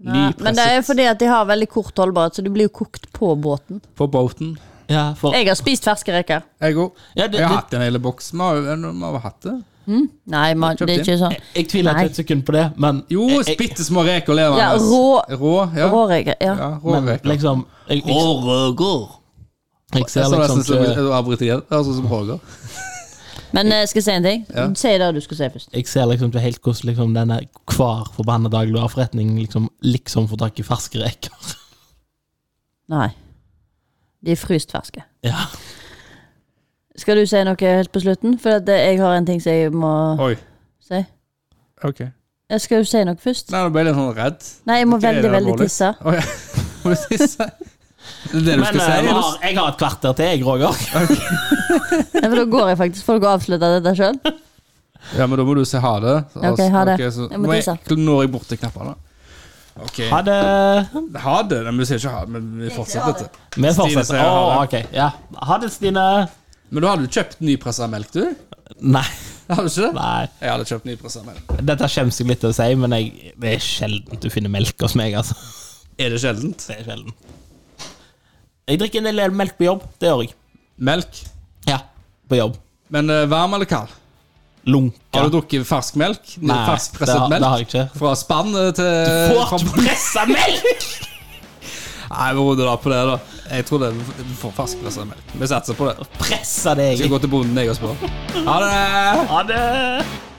Nei, men det er
Nypresset
fordi at de har veldig kort holdbarhet, så de blir jo kokt på båten.
på båten.
Ja, for
Jeg har spist ferske reker.
Jeg òg.
Ja, det-
Jeg har
det-
hatt en hel boks. Vi har jo- vi har jo hatt det.
Nei, man, det er ikke sånn.
Jeg, jeg tviler
Nei.
ikke et sekund på det, men
Jo,
jeg-
bitte små reker lever
Ja, rå-
Rå, ja.
Råreker.
ja,
Ja.
rå
men
reker.
liksom jeg, jeg, jeg ser
Jeg så
liksom
nesten som
ikke
du avbryter igjen. Det høres ut som Roger.
Men eh, skal jeg si en ting?
Ja.
Si det du skal si først.
jeg ser liksom ikke helt hvordan liksom denne hver forbanna dagligvareforretning liksom, liksom får tak i ferske reker.
Nei. De er fryst ferske.
Ja.
Skal du si noe helt på slutten? For at eh, jeg har en ting som jeg må
Oi.
si.
Ok. Nei,
Eh, Skal du si noe først?
nå ble jeg litt sånn redd.
Nei, jeg må
Ok, er det
veldig, veldig
alvorlig?
tisse.
Å ja. Må du tisse? Det er det du
Men
skal
eh,
si?
jeg,
eller?
har, jeg har et kvarter til, jeg, Roger.
Nei, for da går jeg faktisk. Får dere avslutte dette sjøl?
Ja, men da må du si ha det. Altså,
Ja, ok, ha det.
Ok, så,
Jeg må
må jeg,
tisse.
når jeg bort til knappene. Ok.
Ha det.
Ha det. Men vi sier ikke ha det, men vi fortsetter dette.
Vi fortsetter.
sier
Å,
ha
ok. Ja. Ha det, Stine.
Men da hadde du kjøpt nypressa melk, du?
Nei.
Har du ikke det?
Nei.
Jeg hadde kjøpt nypressa melk.
Dette skjemmes jeg litt til å si, men jeg, det er sjelden du finner melk hos meg. altså.
Er det sjeldent?
Det er sjelden. Jeg drikker en del melk på jobb. Det gjør jeg.
Melk.
Ja, på jobb.
Men eh, varm eller kald?
Lunka.
Har du drukket fersk melk?
Nei,
fersk
det
presset
har-
melk?
det har jeg ikke.
Fra spann eh, til
Får
fra-
ikke pressa melk!
Nei, vi runder da på det, da. Jeg tror det vi får ferskpresset melk. Vi satser på det.
Pressa deg.
Skal gå til bonden jeg og spørre. Ha det!
Ha det!